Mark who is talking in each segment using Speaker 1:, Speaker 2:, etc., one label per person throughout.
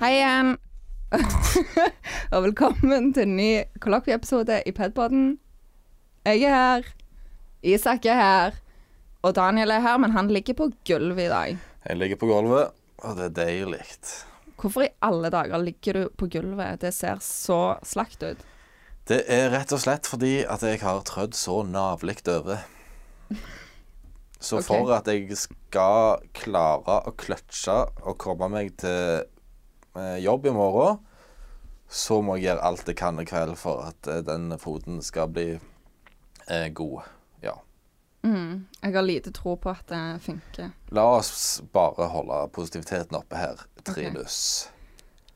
Speaker 1: Hei igjen. og velkommen til en ny kollokvieepisode i Pedpodden. Jeg er her. Isak er her. Og Daniel er her, men han ligger på gulvet i dag.
Speaker 2: Jeg ligger på gulvet, og det er deilig.
Speaker 1: Hvorfor i alle dager ligger du på gulvet? Det ser så slakt ut.
Speaker 2: Det er rett og slett fordi at jeg har trødd så navlig over. Så
Speaker 1: Ok.
Speaker 2: for at jeg skal klare å kløtsje og komme meg til eh, jobb i morgen, så må jeg gjøre alt jeg kan i kveld for at eh, den foten skal bli eh, god. Ja.
Speaker 1: Mm. Jeg har lite tro på at det funker.
Speaker 2: La oss bare holde positiviteten oppe her. Trilus.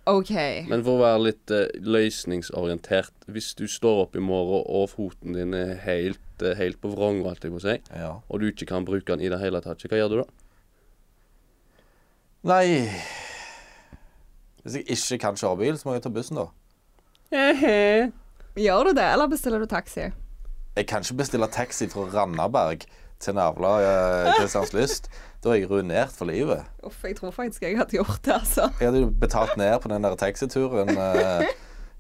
Speaker 1: OK.
Speaker 3: Men for å være litt eh, løsningsorientert Hvis du står opp i morgen og foten din er helt, eh, helt på vrangen, alt jeg må si,
Speaker 2: Ja.
Speaker 3: og du ikke kan bruke den i det hele tatt, så hva gjør du da?
Speaker 2: Nei Hvis jeg ikke kan kjøre bil, så må jeg ta bussen, da.
Speaker 1: Gjør du det, eller bestiller du taxi?
Speaker 2: Jeg kan ikke bestille taxi fra Randaberg til Navla eh, Kristianslyst. Da er jeg ruinert for livet.
Speaker 1: Uff, jeg tror faktisk jeg hadde gjort det, altså.
Speaker 2: Jeg hadde jo betalt ned på den der taxituren eh,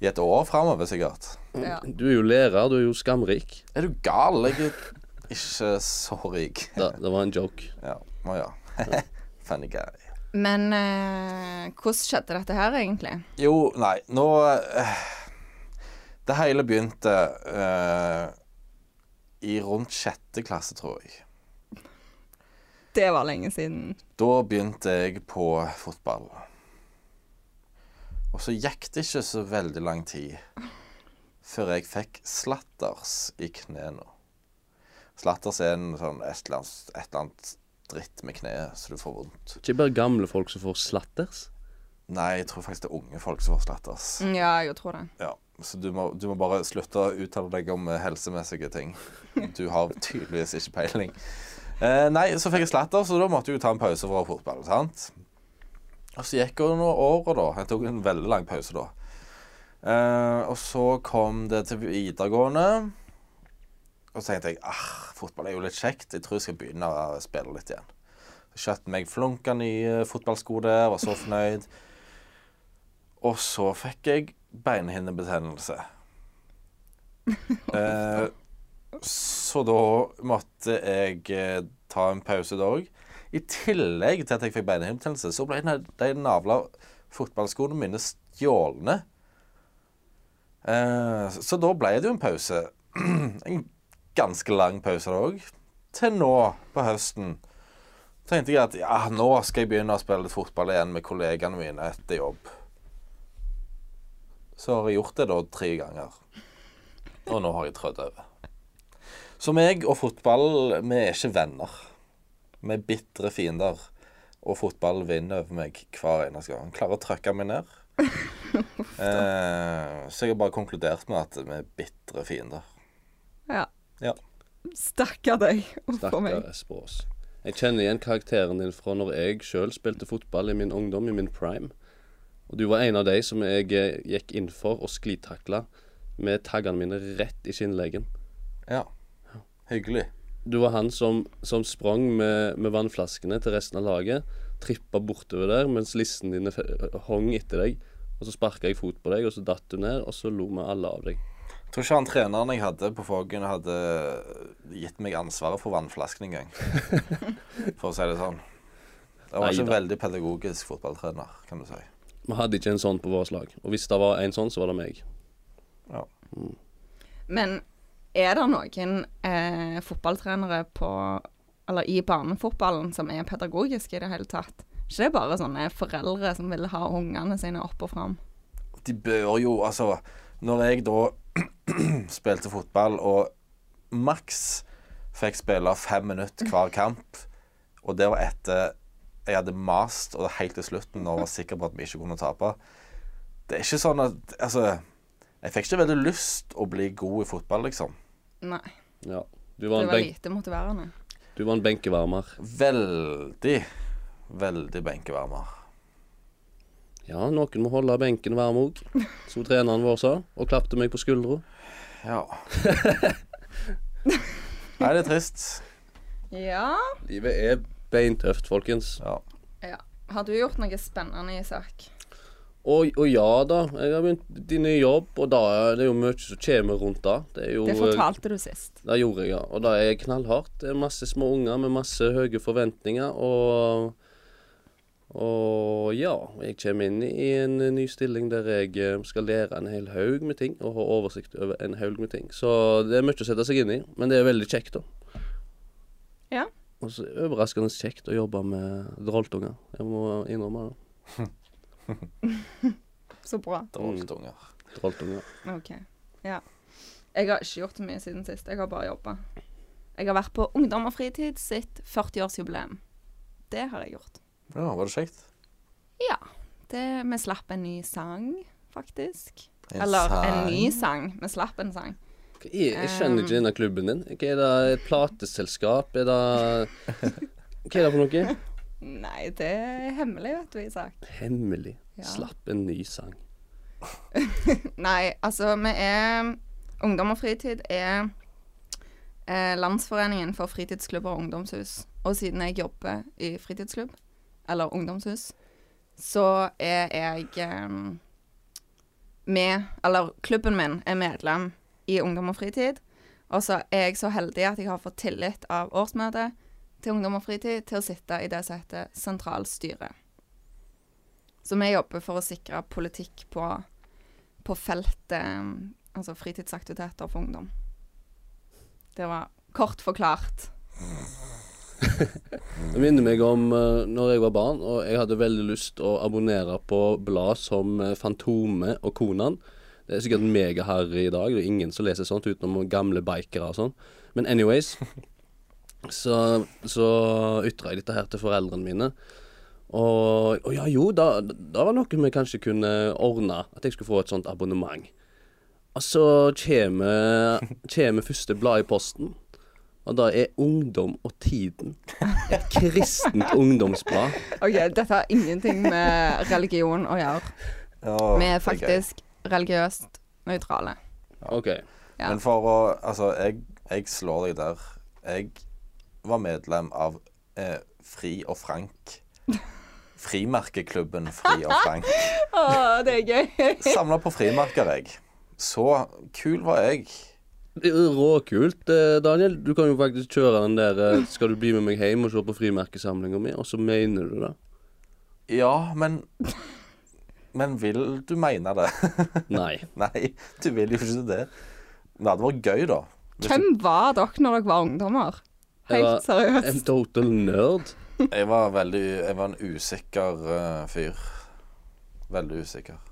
Speaker 2: i et år framover, sikkert.
Speaker 1: Ja.
Speaker 3: Du er jo lærer, du er jo skamrik.
Speaker 2: Er du gal? Jeg er ikke så rik.
Speaker 3: Da, det var en joke.
Speaker 2: Ja. Å ja. Funny guy.
Speaker 1: Men eh, hvordan skjedde dette her, egentlig?
Speaker 2: Jo, nei, nå eh, Det hele begynte eh, i rundt sjette klasse, tror jeg.
Speaker 1: Det var lenge siden.
Speaker 2: Da begynte jeg på fotball. Og så gikk det ikke så veldig lang tid før jeg fikk slatters i knærne. Slatters er en sånn et eller annet, et eller annet dritt med kneet, så du får vondt.
Speaker 3: Ikke bare gamle folk som får slatters.
Speaker 2: Nei, jeg tror faktisk det er unge folk som får slatters.
Speaker 1: Mm, Ja, jeg tror det.
Speaker 2: Ja, så du må, du må bare slutte å uttale deg om eh, helsemessige ting. Du har tydeligvis ikke peiling. Eh, nei, så fikk jeg slatter, så da måtte jeg jo ta en pause fra fotball. sant? Og så gikk det noen år, og da. Jeg tok en veldig lang pause da. Eh, og så kom det til videregående. Og så tenkte jeg ah, fotball er jo litt kjekt. Jeg tror jeg skal begynne å spille litt igjen. Så kjøpte meg flunka nye fotballsko der, var så fornøyd. Og så fikk jeg beinhinnebetennelse. Eh, så da måtte jeg eh, ta en pause da òg. I tillegg til at jeg fikk beinhinnebetennelse, så ble na- de navla fotballskoene mine stjålne. Eh, så- så da ble det jo en pause. en ganske lang pause da òg. Til nå på høsten tenkte jeg at ja, nå skal jeg begynne å spille litt fotball igjen med kollegene mine etter jobb så har jeg gjort det da tre ganger. Og nå har jeg trødd over. Så meg og fotball, vi er ikke venner. Vi er bitre fiender. Og fotball vinner over meg hver eneste gang. Han klarer å trøkke meg ned. Eh, så jeg har bare konkludert med at vi er bitre fiender.
Speaker 1: Ja.
Speaker 2: Ja.
Speaker 1: Stakkar deg. Uff a meg.
Speaker 3: Stakkars bås. Jeg kjenner igjen karakteren din fra når jeg sjøl spilte fotball i min ungdom, i min prime. Og du var en av de som jeg eh, gikk inn for og sklitakla med taggene mine rett i skinnleggen.
Speaker 2: ja. Hyggelig.
Speaker 3: Du var han som, som sprang med, med vannflaskene til resten av laget, trippa bortover der mens lissen dine fe- hong etter deg. Og så sparka jeg fot på deg, og så datt du ned, og så lo vi alle av deg.
Speaker 2: Jeg tror ikke han treneren jeg hadde på Foggen, hadde gitt meg ansvaret for vannflasken engang. For å si det sånn. Det var ikke en veldig pedagogisk fotballtrener, kan du si.
Speaker 3: Vi hadde ikke en sånn på vårt lag. Og hvis det var en sånn, så var det meg.
Speaker 2: Ja.
Speaker 1: Men er det noen eh, fotballtrenere på Eller i barnefotballen som er pedagogiske i det hele tatt? Ikke det er bare sånne foreldre som vil ha ungene sine opp og fram?
Speaker 2: De bør jo, altså Når jeg da spilte fotball og maks fikk spille fem minutter hver kamp, og det var etter jeg hadde mast og det helt til slutten og var sikker på at vi ikke kunne tape Det er ikke sånn at Altså, jeg fikk ikke veldig lyst å bli god i fotball, liksom.
Speaker 1: Nei.
Speaker 3: Ja. Du
Speaker 1: Det
Speaker 3: var en,
Speaker 1: var
Speaker 3: Sånn benk,
Speaker 1: lite motiverende.
Speaker 3: du var en benkevarmer.
Speaker 2: Veldig, veldig benkevarmer.
Speaker 3: Ja, noen må holde benken varm òg, som treneren vår sa, og klapte meg på skuldra.
Speaker 2: Ja. Nei, det er trist.
Speaker 1: Ja.
Speaker 3: Livet er beintøft, folkens.
Speaker 2: Ja.
Speaker 1: ja. Har du gjort noe spennende, Isak?
Speaker 3: Og, og ja da, jeg har begynt din nye jobb, og da er det jo mye som kommer rundt da. Det er jo eh,
Speaker 1: Det fortalte du sist.
Speaker 3: Det gjorde jeg, ja. Og det er knallhardt. Det er masse små unger med masse høye forventninger, og og ja, jeg kommer inn i en ny stilling der jeg eh, skal lære en hel haug med ting, og ha oversikt over en haug med ting. Så det er mye å sette seg inn i, men det er veldig kjekt, da.
Speaker 1: Ja.
Speaker 3: Og så er det overraskende kjekt å jobbe med droltunger. Jeg må innrømme det.
Speaker 1: Så bra.
Speaker 2: Droltunger.
Speaker 3: Droltunger.
Speaker 1: OK. Ja. Jeg har ikke gjort så mye siden sist. Jeg har bare jobba. Jeg har vært på Ungdom og fritid sitt 40-årsjubileum. Det har jeg gjort.
Speaker 2: Ja, var det kjekt?
Speaker 1: Ja. Det, vi slapp en ny sang, faktisk.
Speaker 2: En
Speaker 1: Eller en
Speaker 2: sang?
Speaker 1: ny sang. Vi slapp en sang.
Speaker 3: Hva er- Jeg skjønner ikke denne klubben din. Hva er det et plateselskap? Er det Hva er det for noe?
Speaker 1: Nei, det er hemmelig, vet du, Isak.
Speaker 3: Hemmelig.
Speaker 1: Ja.
Speaker 3: Slapp en ny sang.
Speaker 1: Nei, altså, vi er Ungdom og fritid er eh, Landsforeningen for fritidsklubber og ungdomshus. Og siden jeg jobber i fritidsklubb, eller ungdomshus, så er jeg eh, med Eller klubben min er medlem i Ungdom og fritid. Og så er jeg så heldig at jeg har fått tillit av årsmøtet til Ungdom og fritid til å sitte i det som heter sentralstyret. Så vi jobber for å sikre politikk på, på feltet um, altså fritidsaktiviteter for ungdom. Det var kort forklart.
Speaker 3: Det minner meg om uh, når jeg var barn og jeg hadde veldig lyst å abonnere på blad som eh, Fantomet og Konan. Det er sikkert megaharry i dag, og ingen som leser sånt utenom gamle bikere og sånn. Men anyways, så, så ytra jeg dette her til foreldrene mine. Og, og ja, jo, da, da var noe vi kanskje kunne ordne, at jeg skulle få et sånt abonnement. Og så kommer, kommer første blad i posten. Og da er Ungdom og Tiden et kristent ungdomsblad.
Speaker 1: OK, dette har ingenting med religion å gjøre.
Speaker 2: Ja,
Speaker 1: Vi
Speaker 2: det
Speaker 1: er
Speaker 2: gøy.
Speaker 1: faktisk religiøst nøytrale.
Speaker 3: OK.
Speaker 1: Ja.
Speaker 2: Men for å Altså, jeg, jeg slår deg der. Jeg var medlem av eh, Fri og Frank. Frimerkeklubben Fri og Frank.
Speaker 1: Å, det er gøy.
Speaker 2: Samla på frimerker, jeg. Så kul var jeg.
Speaker 3: Det er Råkult, eh, Daniel. Du kan jo faktisk kjøre den der eh, 'Skal du bli med meg hjem og se på frimerkesamlinga mi', og så mener du det.
Speaker 2: Ja, men Men vil du mene det?
Speaker 3: Nei.
Speaker 2: Nei, du vil jo ikke det. Men det hadde vært gøy, da. Hvis
Speaker 1: Hvem var dere når dere var ungdommer?
Speaker 3: var-
Speaker 1: Helt
Speaker 3: En
Speaker 1: seriøst.
Speaker 3: total nerd.
Speaker 2: du- Jeg var veldig Jeg var en usikker eh, fyr. Veldig usikker.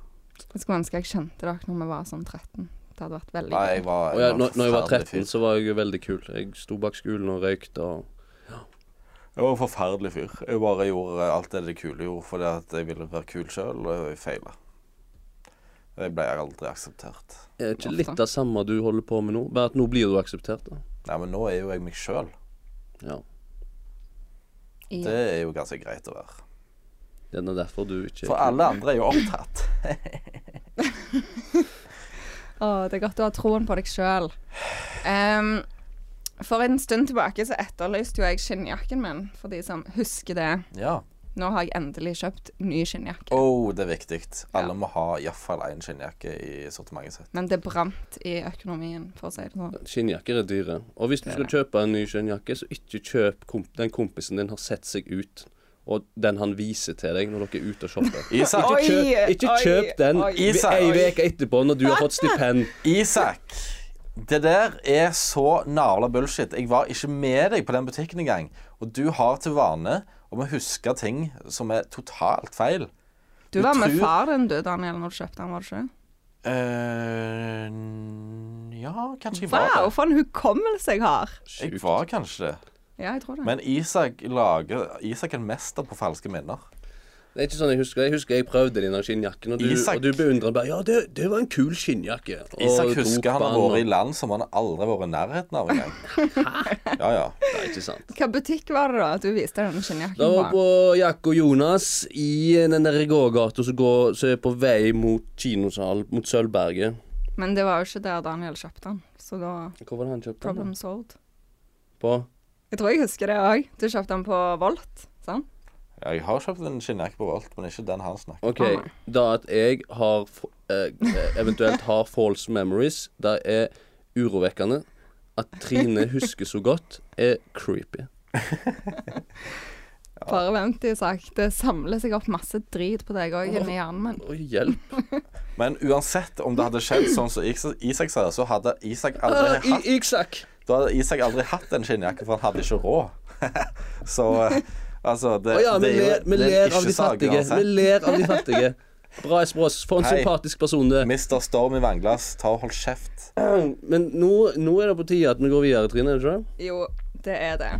Speaker 1: Jeg skulle ønske jeg kjente dere når vi var sånn 13. Det hadde vært veldig
Speaker 2: Nei,
Speaker 1: gøy.
Speaker 2: jeg var,
Speaker 3: Og jeg,
Speaker 2: en
Speaker 3: når, når jeg var
Speaker 2: forferdelig
Speaker 3: 13,
Speaker 2: fyr.
Speaker 3: så var jeg jo veldig kul. Jeg sto bak skolen og røykte og
Speaker 2: Jeg var en forferdelig fyr. Jeg bare gjorde alt det det kule gjorde fordi at jeg ville være kul sjøl, og jeg feila. Jeg ble aldri akseptert.
Speaker 3: Er ikke
Speaker 1: Ofte.
Speaker 3: litt av samme du holder på med nå, bare at nå blir du akseptert, da.
Speaker 2: Nei, men nå er jo jeg meg sjøl.
Speaker 3: Ja.
Speaker 1: I-
Speaker 2: Det er jo ganske greit å være.
Speaker 3: Det er nå derfor du ikke
Speaker 2: For alle andre er jo opptatt.
Speaker 1: Å, det er godt å ha troen på deg sjøl. for en stund tilbake så etterlyste jo jeg skinnjakken min, for de som husker det.
Speaker 2: Ja.
Speaker 1: Nå har jeg endelig kjøpt ny skinnjakke.
Speaker 2: Oh, det er viktig. Alle
Speaker 1: Ja.
Speaker 2: må ha iallfall én skinnjakke i sortimentet sitt.
Speaker 1: Men det brant i økonomien, for å si det sånn.
Speaker 3: Skinnjakker er dyre. Og hvis du
Speaker 1: Det er
Speaker 3: skal kjøpe en ny skinnjakke, så ikke kjøp komp den kompisen din har sett seg ut, og den han viser til deg når dere er ute og shopper.
Speaker 2: Isak!
Speaker 1: Oi,
Speaker 3: Kjøp, ikke
Speaker 1: oi,
Speaker 3: kjøp den
Speaker 1: oi.
Speaker 3: ved-
Speaker 2: Isak.
Speaker 3: ei uke etterpå, når du har fått stipend.
Speaker 2: Isak! Det der er så navla bullshit. Jeg var ikke med deg på den butikken engang. Og du har til vane om å huske ting som er totalt feil.
Speaker 1: Du
Speaker 2: Du
Speaker 1: var med
Speaker 2: tror-
Speaker 1: far din, du, Daniel, når du kjøpte den, var du ikke?
Speaker 2: eh n- ja, kanskje jeg
Speaker 1: Wow,
Speaker 2: var det.
Speaker 1: for en hukommelse jeg har!
Speaker 2: Jeg var kanskje det.
Speaker 1: Ja, jeg tror det.
Speaker 2: Men Isak lager Isak er en mester på falske minner.
Speaker 3: Det er ikke sånn jeg husker. Jeg husker jeg prøvde den der skinnjakken, og du,
Speaker 2: Isak.
Speaker 3: og du beundrer den bare. Ja, det, det var en kul skinnjakke. Og
Speaker 2: Isak
Speaker 3: tok
Speaker 2: husker han
Speaker 3: på
Speaker 2: har vært i
Speaker 3: og-
Speaker 2: land som han aldri har vært i nærheten av engang. Ja, ja.
Speaker 3: Nei, ikke sant.
Speaker 1: Hva butikk var det da at du viste den
Speaker 3: Da
Speaker 1: skinnjakken
Speaker 3: var
Speaker 1: på?
Speaker 3: på Jack og Jonas i den der gågata som går- som er på vei mot kinosal, mot Sølvberget.
Speaker 1: Men det var jo ikke der Daniel kjøpte den, så da
Speaker 3: Hvor var det han kjøpte den? da?
Speaker 1: Problem solved.
Speaker 3: På?
Speaker 1: Jeg tror jeg husker det òg. Du kjøpte den på Volt, sant?
Speaker 2: Ja, jeg har kjøpt en skinnjakke på Volt, men ikke den han snakker om.
Speaker 3: OK. Da at jeg har f- eh, eh, eventuelt har false memories, det er urovekkende. At Trine husker så godt, er creepy.
Speaker 1: Bare vent, Isak. Det samler seg opp masse drit på deg òg inni hjernen min.
Speaker 3: Å, hjelp.
Speaker 2: Men uansett om det hadde skjedd sånn som Is- Isak sa, så hadde Isak aldri
Speaker 3: Ah,
Speaker 2: hatt
Speaker 3: I- Isak!
Speaker 2: Da hadde Isak aldri hatt en skinnjakke, for han hadde ikke råd. så eh, altså Det,
Speaker 3: Å ja, vi
Speaker 2: det er jo-
Speaker 3: ler, vi
Speaker 2: det er en
Speaker 3: ler av de
Speaker 2: ikke-sak
Speaker 3: fattige.
Speaker 2: uansett.
Speaker 3: Vi ler av de fattige. Bra, Espros. For en
Speaker 2: Hei.
Speaker 3: sympatisk person det er.
Speaker 2: Mister Storm i vannglass, ta og hold kjeft.
Speaker 3: Men nå, nå er det på tide at vi går videre, Trine. er det ikke det?
Speaker 1: Jo, det er det.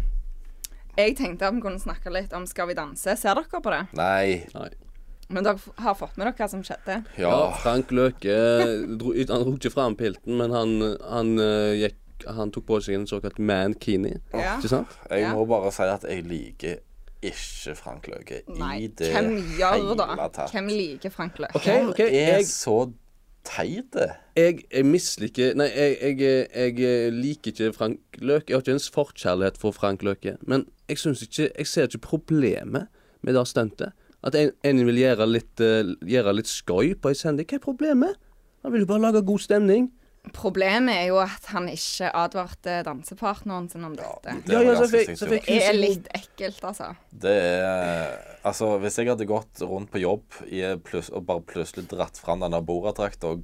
Speaker 1: Jeg tenkte at vi kunne snakke litt om Skal vi danse. Ser dere på det?
Speaker 2: Nei.
Speaker 3: Nei.
Speaker 1: Men dere f- har fått med dere hva som skjedde?
Speaker 3: Ja, Frank Løke eh, dro, Han dro ikke fram pilten, men han, han eh, gikk han tok på seg en såkalt mankini.
Speaker 1: Ja.
Speaker 3: Ikke sant?
Speaker 2: Jeg
Speaker 1: Ja.
Speaker 2: må bare si at jeg liker ikke Frank Løke i
Speaker 1: Nei,
Speaker 2: det
Speaker 1: hvem gjør da?
Speaker 2: hele tatt.
Speaker 1: Hvem liker Frank Løke?
Speaker 3: OK,
Speaker 2: Han
Speaker 3: ok,
Speaker 2: er
Speaker 3: jeg,
Speaker 2: så teit.
Speaker 3: jeg, jeg misliker Nei, jeg, jeg, jeg eh, liker ikke Frank Løke. Jeg har ikke en forkjærlighet for Frank Løke. Men jeg syns ikke Jeg ser ikke problemet med det stuntet. At en, en vil gjøre litt, eh, gjøre litt skøy på ei sending. Hva er problemet? Han vil jo bare lage god stemning.
Speaker 1: Problemet er jo at han ikke advarte dansepartneren sin om dette.
Speaker 2: Det var
Speaker 3: ja, så
Speaker 2: ganske
Speaker 3: fikk-
Speaker 2: sykt
Speaker 3: så
Speaker 2: gjort.
Speaker 3: fikk-
Speaker 1: Det er litt ekkelt, altså.
Speaker 2: Det er Altså, hvis jeg hadde gått rundt på jobb i pluss, og bare plutselig dratt fram denne borddrakta og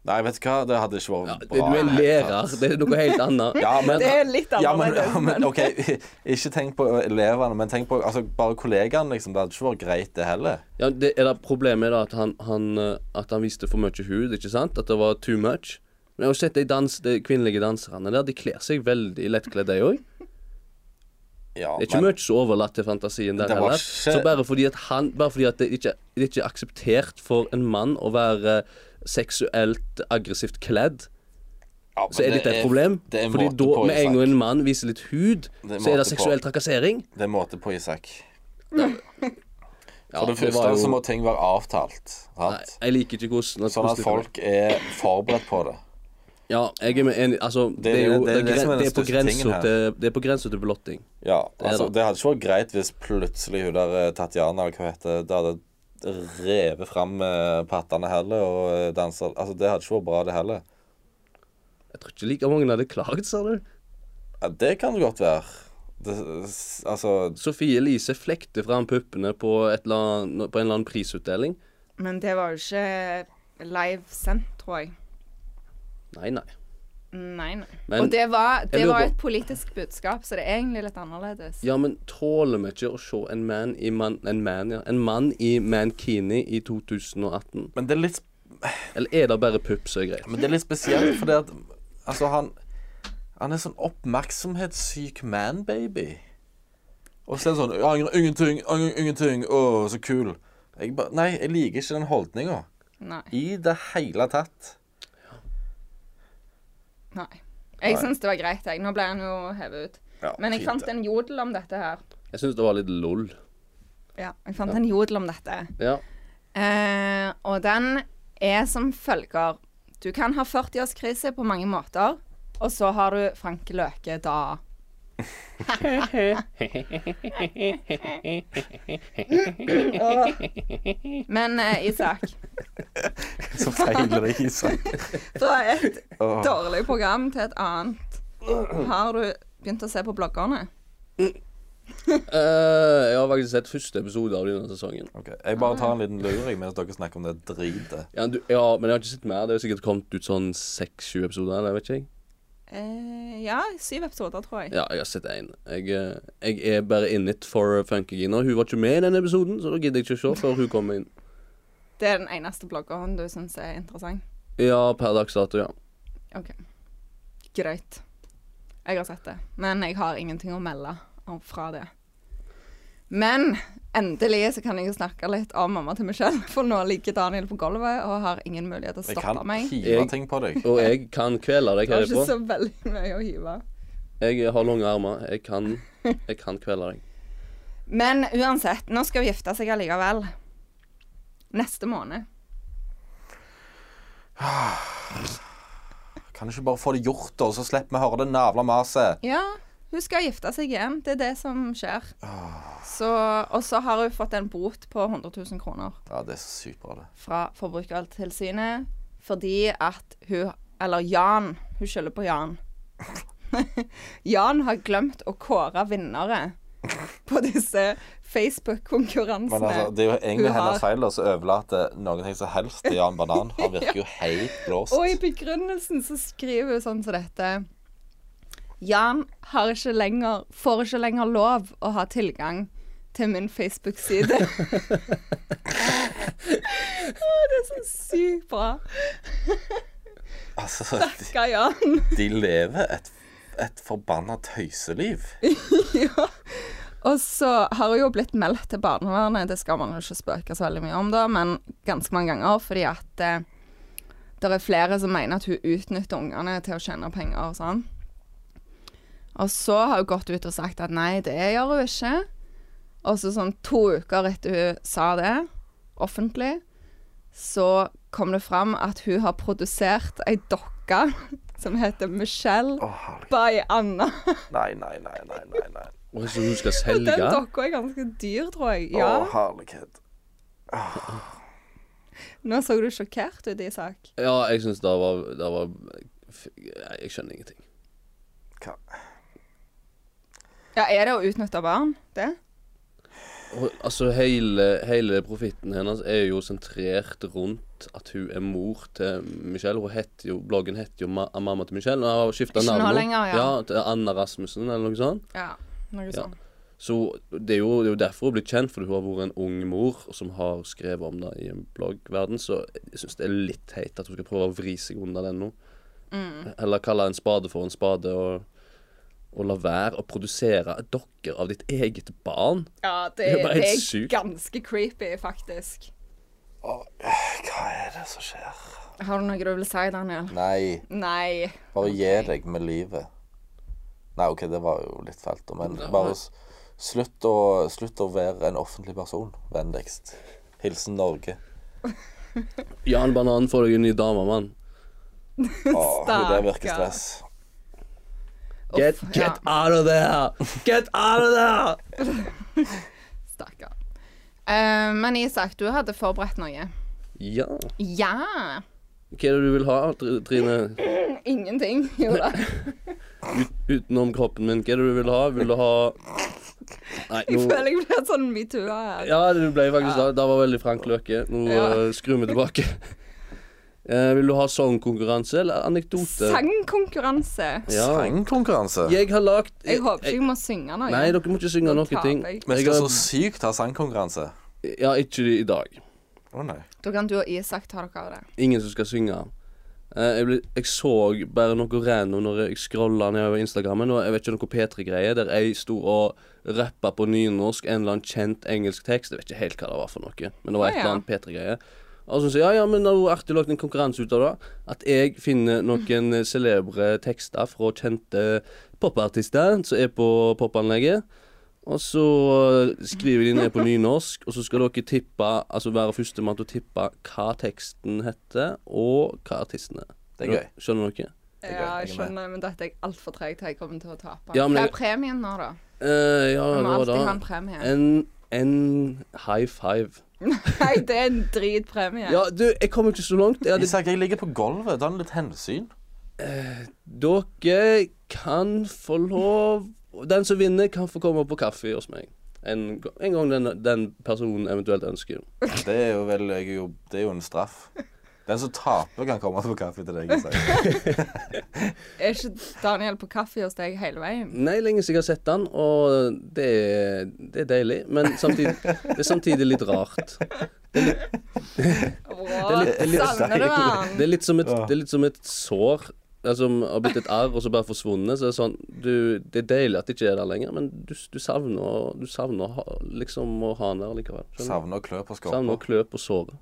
Speaker 2: Nei, vet du hva, det hadde ikke vært
Speaker 3: Du
Speaker 2: bra. i det
Speaker 3: er
Speaker 2: hele tatt.
Speaker 3: lærer. Det er noe helt annet.
Speaker 2: Ja, men,
Speaker 1: Det er litt
Speaker 2: ja, men,
Speaker 1: annerledes,
Speaker 2: ja, men OK, ikke tenk på elevene, men tenk på altså, bare kollegaene, liksom. Det hadde ikke vært greit, det heller.
Speaker 3: Ja, det, er det problemet er da at han, han, eh, at han viste for mye hud, ikke sant? At det var too much. Men jeg har sett de, dans, de kvinnelige danserne der, de kler seg veldig lettkledde, de òg.
Speaker 2: Ja,
Speaker 3: Det er ikke
Speaker 2: men,
Speaker 3: mye som er overlatt til fantasien der
Speaker 2: Det var
Speaker 3: heller.
Speaker 2: ikke-
Speaker 3: Så bare fordi at han Bare fordi at det ikke, det ikke er akseptert for en mann å være seksuelt aggressivt kledd,
Speaker 2: ja, men
Speaker 3: så er dette et problem.
Speaker 2: Det er en
Speaker 3: fordi
Speaker 2: måte
Speaker 3: da,
Speaker 2: på,
Speaker 3: med en gang
Speaker 2: Isak.
Speaker 3: en mann viser litt hud,
Speaker 2: Det er
Speaker 3: så er det
Speaker 2: måte på.
Speaker 3: seksuell trakassering.
Speaker 2: Det er en måte på, Isak.
Speaker 3: Ja,
Speaker 2: For det
Speaker 3: det
Speaker 2: første
Speaker 3: var jo-
Speaker 2: så må ting være avtalt.
Speaker 3: Nei,
Speaker 2: Sant?
Speaker 3: jeg liker ikke hvordan
Speaker 2: Sånn at
Speaker 3: hvordan-
Speaker 2: folk er forberedt på det.
Speaker 3: Ja, jeg er med enig. Altså, det,
Speaker 2: det-
Speaker 3: er
Speaker 2: det-
Speaker 3: jo
Speaker 2: det er
Speaker 3: det,
Speaker 2: det som er den
Speaker 3: det er på
Speaker 2: største
Speaker 3: grensa
Speaker 2: tingen her.
Speaker 3: til, det er på grensa til blotting.
Speaker 2: Ja,
Speaker 3: er
Speaker 2: altså,
Speaker 3: det.
Speaker 2: det hadde ikke vært greit hvis plutselig hun der eh, Tatjana eller hva hun heter, det hadde revet fram eh, pattene heller og eh, dansa Altså, det hadde ikke vært bra, det heller.
Speaker 3: Jeg tror ikke like mange hadde klaget, sa du.
Speaker 2: Ja, det kan det godt være. Det, s- altså
Speaker 3: Sofie Elise flekte fram puppene på, et eller annet, på en eller annen prisutdeling.
Speaker 1: Men det var jo ikke live sendt, tror jeg.
Speaker 3: Nei, nei.
Speaker 1: Nei, nei.
Speaker 3: Men-
Speaker 1: Og det var, det
Speaker 3: Jeg lurer
Speaker 1: var
Speaker 3: på-
Speaker 1: et politisk budskap, så det er egentlig litt annerledes.
Speaker 3: Ja, men tåler vi ikke å se en man i man, En man, ja. En mann i mankini i 2018?
Speaker 2: Men det er litt,
Speaker 3: Eller er det bare pupp som er greit?
Speaker 2: men det er litt spesielt, fordi at Altså, han Han er sånn oppmerksomhetssyk man-baby. Og så er det sånn «Jeg Angrer ingenting, angrer ingenting, å, så kul. Jeg ba, nei, jeg liker ikke den holdninga.
Speaker 1: Nei.
Speaker 2: I det hele tatt.
Speaker 1: nei. Jeg syns det var greit, jeg. Nå ble han jo hevet ut.
Speaker 2: Ja,
Speaker 1: Men jeg
Speaker 2: fint,
Speaker 1: fant
Speaker 2: det.
Speaker 1: en jodel om dette her.
Speaker 3: Jeg syns det var litt lol.
Speaker 1: Ja, jeg fant en jodel om dette.
Speaker 3: Ja.
Speaker 1: Eh, og den er som følger. Du kan ha 40-årskrise på mange måter, og så har du Frank Løke da. Åh. Men eh, Isak,
Speaker 2: Så feiler det Isak.
Speaker 1: fra et
Speaker 2: Åh.
Speaker 1: dårlig program til et annet, har du begynt å se på bloggerne?
Speaker 3: Eh, jeg har faktisk sett første episode av denne sesongen.
Speaker 2: Ok, Jeg bare tar en liten luring mens dere snakker om det dritet.
Speaker 3: Ja, du, ja, men jeg har ikke sett mer. Det er jo sikkert kommet ut sånn seks-sju episoder. eller vet ikke jeg.
Speaker 1: Eh, ja, syv episoder, tror jeg.
Speaker 3: Ja, jeg har sett én. Jeg, eh, jeg er bare in it for Funkygina. Hun var ikke med i den episoden, så da gidder jeg ikke å se før hun kommer inn.
Speaker 1: Det er den eneste bloggeren du syns er interessant?
Speaker 3: Ja, per dags dato, ja.
Speaker 1: OK. Greit. Jeg har sett det. Men jeg har ingenting å melde om fra det. Men endelig så kan jeg jo snakke litt om mamma til Michelle, for nå ligger Daniel på gulvet og har ingen mulighet til å
Speaker 2: Jeg
Speaker 1: stoppe
Speaker 2: kan
Speaker 1: meg.
Speaker 2: hive ting på deg.
Speaker 3: Og jeg kan kvele deg
Speaker 1: Jeg har ikke
Speaker 3: herifra.
Speaker 1: så veldig mye å hive.
Speaker 3: Jeg har lange armer. Jeg kan, jeg kan kvele deg.
Speaker 1: Men uansett, nå skal hun gifte seg allikevel. Neste måned.
Speaker 2: Kan du ikke bare få det gjort, da, så slipper vi å høre det navla maset?
Speaker 1: Ja, Hun skal gifte seg igjen. Det er det som skjer.
Speaker 2: Ah.
Speaker 1: Så, og så har hun fått en bot på 100 000 kroner
Speaker 2: Ja, det er så sykt bra, det.
Speaker 1: fra Forbrukertilsynet fordi at hun Eller Jan. Hun skylder på Jan. Jan har glemt å kåre vinnere på disse
Speaker 2: Men
Speaker 1: Facebook-konkurransene.
Speaker 2: altså, det er jo egentlig
Speaker 1: Hun har-
Speaker 2: hennes feil å overlate eh, noen ting som helst til Jan Banan. Han virker jo helt blåst.
Speaker 1: Og i begrunnelsen så skriver hun sånn som dette. Jan har ikke lenger, får ikke lenger lov å ha tilgang til min Facebook-side. Å, det er så sykt bra.
Speaker 2: Altså, de,
Speaker 1: Hva Jan?
Speaker 2: de lever et, et forbanna tøyseliv.
Speaker 1: ja. Og så har hun jo blitt meldt til barnevernet, det skal man jo ikke spøke så veldig mye om da, men ganske mange ganger, fordi at eh, det er flere som mener at hun utnytter ungene til å tjene penger og sånn. Og så har hun gått ut og sagt at nei, det gjør hun ikke. Og så sånn to uker etter hun sa det, offentlig, så kom det fram at hun har produsert ei dokke som heter Michelle
Speaker 2: Å, herregud.
Speaker 1: by Anna.
Speaker 2: nei, nei, nei, nei, nei. nei.
Speaker 3: Og så hun skal
Speaker 1: Den
Speaker 3: selge?
Speaker 1: dokka er ganske dyr, tror jeg.
Speaker 2: Å,
Speaker 1: Ja.
Speaker 2: herlighet.
Speaker 1: Nå så du sjokkert ut, Isak.
Speaker 3: Ja, jeg syns det var, det var f- Jeg skjønner ingenting.
Speaker 2: Hva?
Speaker 1: Ja, er det å utnytte barn? Det?
Speaker 3: Og, altså, hele, hele profitten hennes er jo sentrert rundt at hun er mor til Michelle. Hun heter jo, bloggen heter jo Ma Mamma til Michelle, og har skifta
Speaker 1: Ikke nå
Speaker 3: navn.
Speaker 1: lenger, ja.
Speaker 3: til Anna Rasmussen, eller noe sånt.
Speaker 1: Ja. Noe
Speaker 3: Ja.
Speaker 1: sånt.
Speaker 3: Så det er, jo, det er jo derfor hun blir kjent, fordi hun har vært en ung mor som har skrevet om det i en bloggverden. Så jeg syns det er litt teit at hun skal prøve å vri seg unna den nå.
Speaker 1: Mm.
Speaker 3: Eller kalle en spade for en spade, og, og la være å produsere dokker av ditt eget barn.
Speaker 1: Ja, det,
Speaker 3: Det er bare
Speaker 1: det
Speaker 3: helt
Speaker 1: er
Speaker 3: sykt.
Speaker 1: ganske creepy, faktisk.
Speaker 2: Å, hva er det som skjer?
Speaker 1: Har du noe du vil si, Daniel?
Speaker 2: Nei,
Speaker 1: Nei.
Speaker 2: bare gi deg med livet. Nei, OK, det var jo litt fælt, da, men
Speaker 3: Det var-
Speaker 2: bare s- slutt å, slutt å være en offentlig person, vennligst. Hilsen Norge.
Speaker 3: Jan Banan får deg en ny dame, mann.
Speaker 2: Å, hun der virker
Speaker 1: Stakkar.
Speaker 2: stress.
Speaker 3: Get,
Speaker 1: Uff,
Speaker 3: get out of there! Get out of there!
Speaker 1: Ja, Stakkar. Eh, men Isak, du hadde forberedt noe.
Speaker 3: Ja.
Speaker 1: Ja.
Speaker 3: Hva er det du vil ha, Tr- Trine?
Speaker 1: Ingenting, jo da.
Speaker 3: Utenom kroppen min, hva er det du vil ha? Vil du ha Nei,
Speaker 1: Jeg
Speaker 3: nå
Speaker 1: føler jeg blir sånn metoo her.
Speaker 3: Ja, det ble faktisk det. Det var veldig Frank Løke. Nå
Speaker 1: Ja.
Speaker 3: eh, skrur vi tilbake. Eh, vil du ha sangkonkurranse eller anekdote?
Speaker 1: Sangkonkurranse.
Speaker 3: Ja.
Speaker 2: Sangkonkurranse.
Speaker 3: Jeg har lagt
Speaker 1: Jeg håper ikke jeg må synge noe.
Speaker 3: Nei, dere må ikke synge
Speaker 1: Da
Speaker 3: noen
Speaker 1: taper
Speaker 3: ting.
Speaker 1: jeg.
Speaker 2: Vi
Speaker 3: Jeg
Speaker 2: skal
Speaker 3: har,
Speaker 2: så sykt ha sangkonkurranse.
Speaker 3: ja, ikke i dag.
Speaker 2: Å nei.
Speaker 1: Da kan du og Isak ta dere av det.
Speaker 3: Ingen som skal synge. Eh, Jeg, ble, jeg så bare noe random når jeg scrolla nedover Instagrammen, og jeg vet ikke noe P3-greie, der ei sto og rappa på nynorsk en eller annen kjent engelsk tekst. Jeg vet ikke helt hva det var for noe, men det var
Speaker 1: Å,
Speaker 3: et
Speaker 1: ja.
Speaker 3: eller annet P3-greie. Og så sier jeg, ja, ja, men det er jo artig lagt en konkurranse ut av det. At jeg finner noen eh, celebre tekster fra kjente popartister som er på popanlegget. Og så eh, skriver de ned på nynorsk, og så skal dere tippe, altså være førstemann til å tippe hva teksten heter, og hva artisten er.
Speaker 2: Det er gøy.
Speaker 3: Skjønner dere?
Speaker 2: er
Speaker 1: Ja,
Speaker 2: greit,
Speaker 1: jeg
Speaker 2: jeg er
Speaker 1: skjønner, men dette er jeg altfor treg til. Jeg kommer til å tape.
Speaker 3: Ja, men
Speaker 1: Hva er
Speaker 3: jeg-
Speaker 1: premien nå, da?
Speaker 3: Eh, ja,
Speaker 1: Vi må
Speaker 3: hva da?
Speaker 1: alltid ha en premie.
Speaker 3: En, en high five.
Speaker 1: Nei, det er en dritpremie.
Speaker 3: Ja, du, jeg kom ikke så langt. Jeg hadde
Speaker 2: Isak, jeg ligger på gulvet. Ta litt hensyn.
Speaker 3: Dere kan få lov Den som vinner, kan få komme på kaffe hos meg. En, ga- en gang den, den personen eventuelt ønsker.
Speaker 2: Det er jo vel jeg er jo, Det er jo en straff. Den som taper, kan komme på kaffe til deg. Isak.
Speaker 1: Er ikke Daniel på kaffe hos deg hele veien?
Speaker 3: Nei, lenge siden jeg har sett den, og det er, det er deilig. Men samtidig, det er samtidig litt rart.
Speaker 1: Wow,
Speaker 3: litt- det er litt
Speaker 1: Savner du han?
Speaker 3: Det er litt som et, det er litt som et sår altså, som har blitt et arr og så bare forsvunnet. Så det er sånn du, Det er deilig at det ikke er der lenger, men du, du savner, du savner å ha- liksom å ha den der likevel. Skjønner du?
Speaker 2: Savner å klø på
Speaker 3: Savner
Speaker 2: skorpa.
Speaker 3: å klø på såret.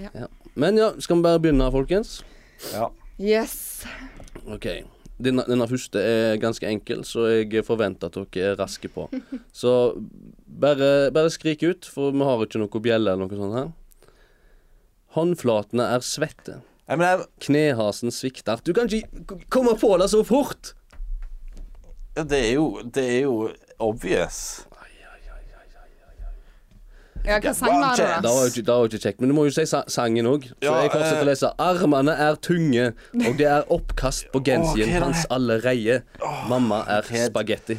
Speaker 1: Ja.
Speaker 3: Ja. Men ja, skal vi bare begynne, folkens?
Speaker 2: Ja.
Speaker 1: Yes.
Speaker 3: OK. Denne, denne første er ganske enkel, så jeg forventer at dere er raske på. Så bare, bare skrik ut, for vi har ikke noe bjelle eller noe sånt her. Håndflatene er svette.
Speaker 2: Nei, men jeg,
Speaker 3: Knehasen svikter. Du kan ikke komme på det så fort!
Speaker 2: Ja, det er jo, det er jo obvious.
Speaker 1: Ja, hva sang var det,
Speaker 3: Det
Speaker 1: da?
Speaker 3: var jo ikke, det var jo ikke kjekt. Men du må jo si sa sangen òg. Så
Speaker 2: Ja,
Speaker 3: jeg fortsetter
Speaker 2: eh.
Speaker 3: å lese. Armene er tunge, og det er oppkast på
Speaker 2: Åh, hva
Speaker 3: genseren
Speaker 2: er det?
Speaker 3: hans allereie. Mamma er spagetti.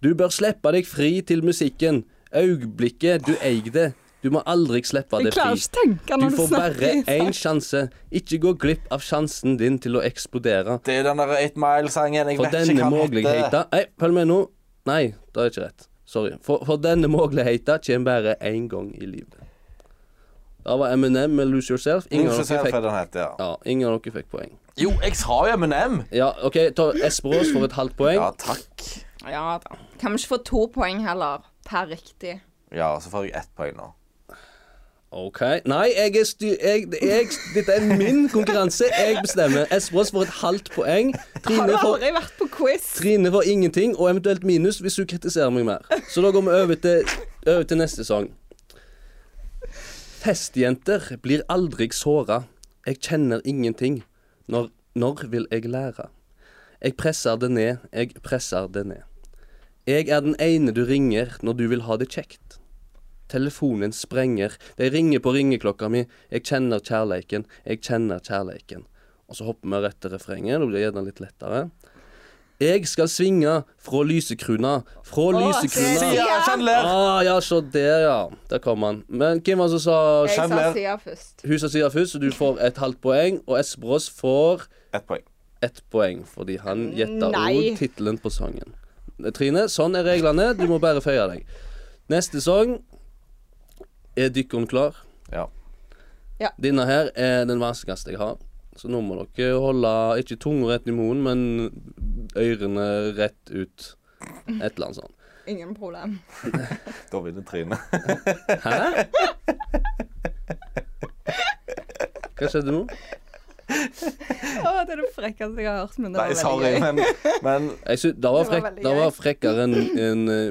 Speaker 3: Du bør slippe deg fri til musikken. Øyeblikket du eier det. Du må aldri slippe
Speaker 1: Jeg
Speaker 3: det
Speaker 1: klarer
Speaker 3: fri.
Speaker 1: ikke å tenke
Speaker 3: Du
Speaker 1: når du,
Speaker 3: får bare
Speaker 1: snakker.
Speaker 3: én sjanse. Ikke gå glipp av sjansen din til å eksplodere.
Speaker 2: Det er den der Eight Mile-sangen. Jeg
Speaker 3: For
Speaker 2: vet ikke
Speaker 3: denne
Speaker 2: hva den heter.
Speaker 3: muligheten Nei, følg med nå. Nei, det er ikke rett. Sorry. For, for denne muligheten kommer bare én gang i livet. Det var Eminem med 'Lose Yourself'. Ingen av
Speaker 2: Lose
Speaker 3: dere
Speaker 2: Yourself er
Speaker 3: fikk,
Speaker 2: den heter, ja.
Speaker 3: ja, ingen av dere fikk poeng.
Speaker 2: Jo, jeg sa jo M&M.
Speaker 3: Ja, OK, ta Esperås for et halvt poeng.
Speaker 2: Ja, takk.
Speaker 1: Ja da. Kan vi ikke få to poeng heller per riktig?
Speaker 2: Ja, så får jeg ett poeng nå.
Speaker 3: OK. Nei, jeg er styr... Jeg, jeg, dette er min konkurranse. Jeg bestemmer. Esperås for et halvt poeng.
Speaker 1: Har du
Speaker 3: Trine får
Speaker 1: aldri vært på quiz?
Speaker 3: Trine får ingenting, og eventuelt minus hvis hun kritiserer meg mer. Så da går vi over til, over til neste sang. Festjenter blir aldri såra. Jeg kjenner ingenting. Når, når vil jeg lære? Jeg presser det ned, jeg presser det ned. Jeg er den ene du ringer når du vil ha det kjekt. Telefonen sprenger, de ringer på ringeklokka mi. Jeg kjenner kjærleiken, jeg kjenner kjærleiken. Og så hopper vi rett til refrenget, da blir det gjerne litt lettere. Jeg skal svinge fra lysekrona, fra lysekrona.
Speaker 1: Sia.
Speaker 2: Sia Chandler.
Speaker 3: Ah, ja, se der, ja. Der kom han. Men hvem var det som sa
Speaker 1: Jeg sa
Speaker 2: Chandler.
Speaker 1: Sia først.
Speaker 3: Husa sier først, så du får et halvt poeng, og Esperås får
Speaker 2: Ett poeng.
Speaker 3: ett poeng, fordi han gjetta
Speaker 1: Nei.
Speaker 3: òg tittelen på sangen. Trine, sånn er reglene. Du må bare føye deg. Neste sang er dykkeren klar.
Speaker 2: Ja.
Speaker 3: Denne her er den vanskeligste jeg har. Så nå må dere holde ikke tunga rett i munnen, men ørene rett ut. Et eller annet sånt.
Speaker 1: Ingen problem.
Speaker 2: Da vinner Trine.
Speaker 3: Hæ? Hva skjedde nå?
Speaker 1: Å, det er det frekkeste jeg har hørt, men det
Speaker 2: Nei,
Speaker 1: var veldig
Speaker 2: sorry,
Speaker 1: gøy.
Speaker 2: men, men
Speaker 3: Jeg synes, det, var
Speaker 1: Det var
Speaker 3: frekk,
Speaker 1: veldig
Speaker 3: det var
Speaker 1: greit.
Speaker 3: frekkere enn en,
Speaker 1: Eh,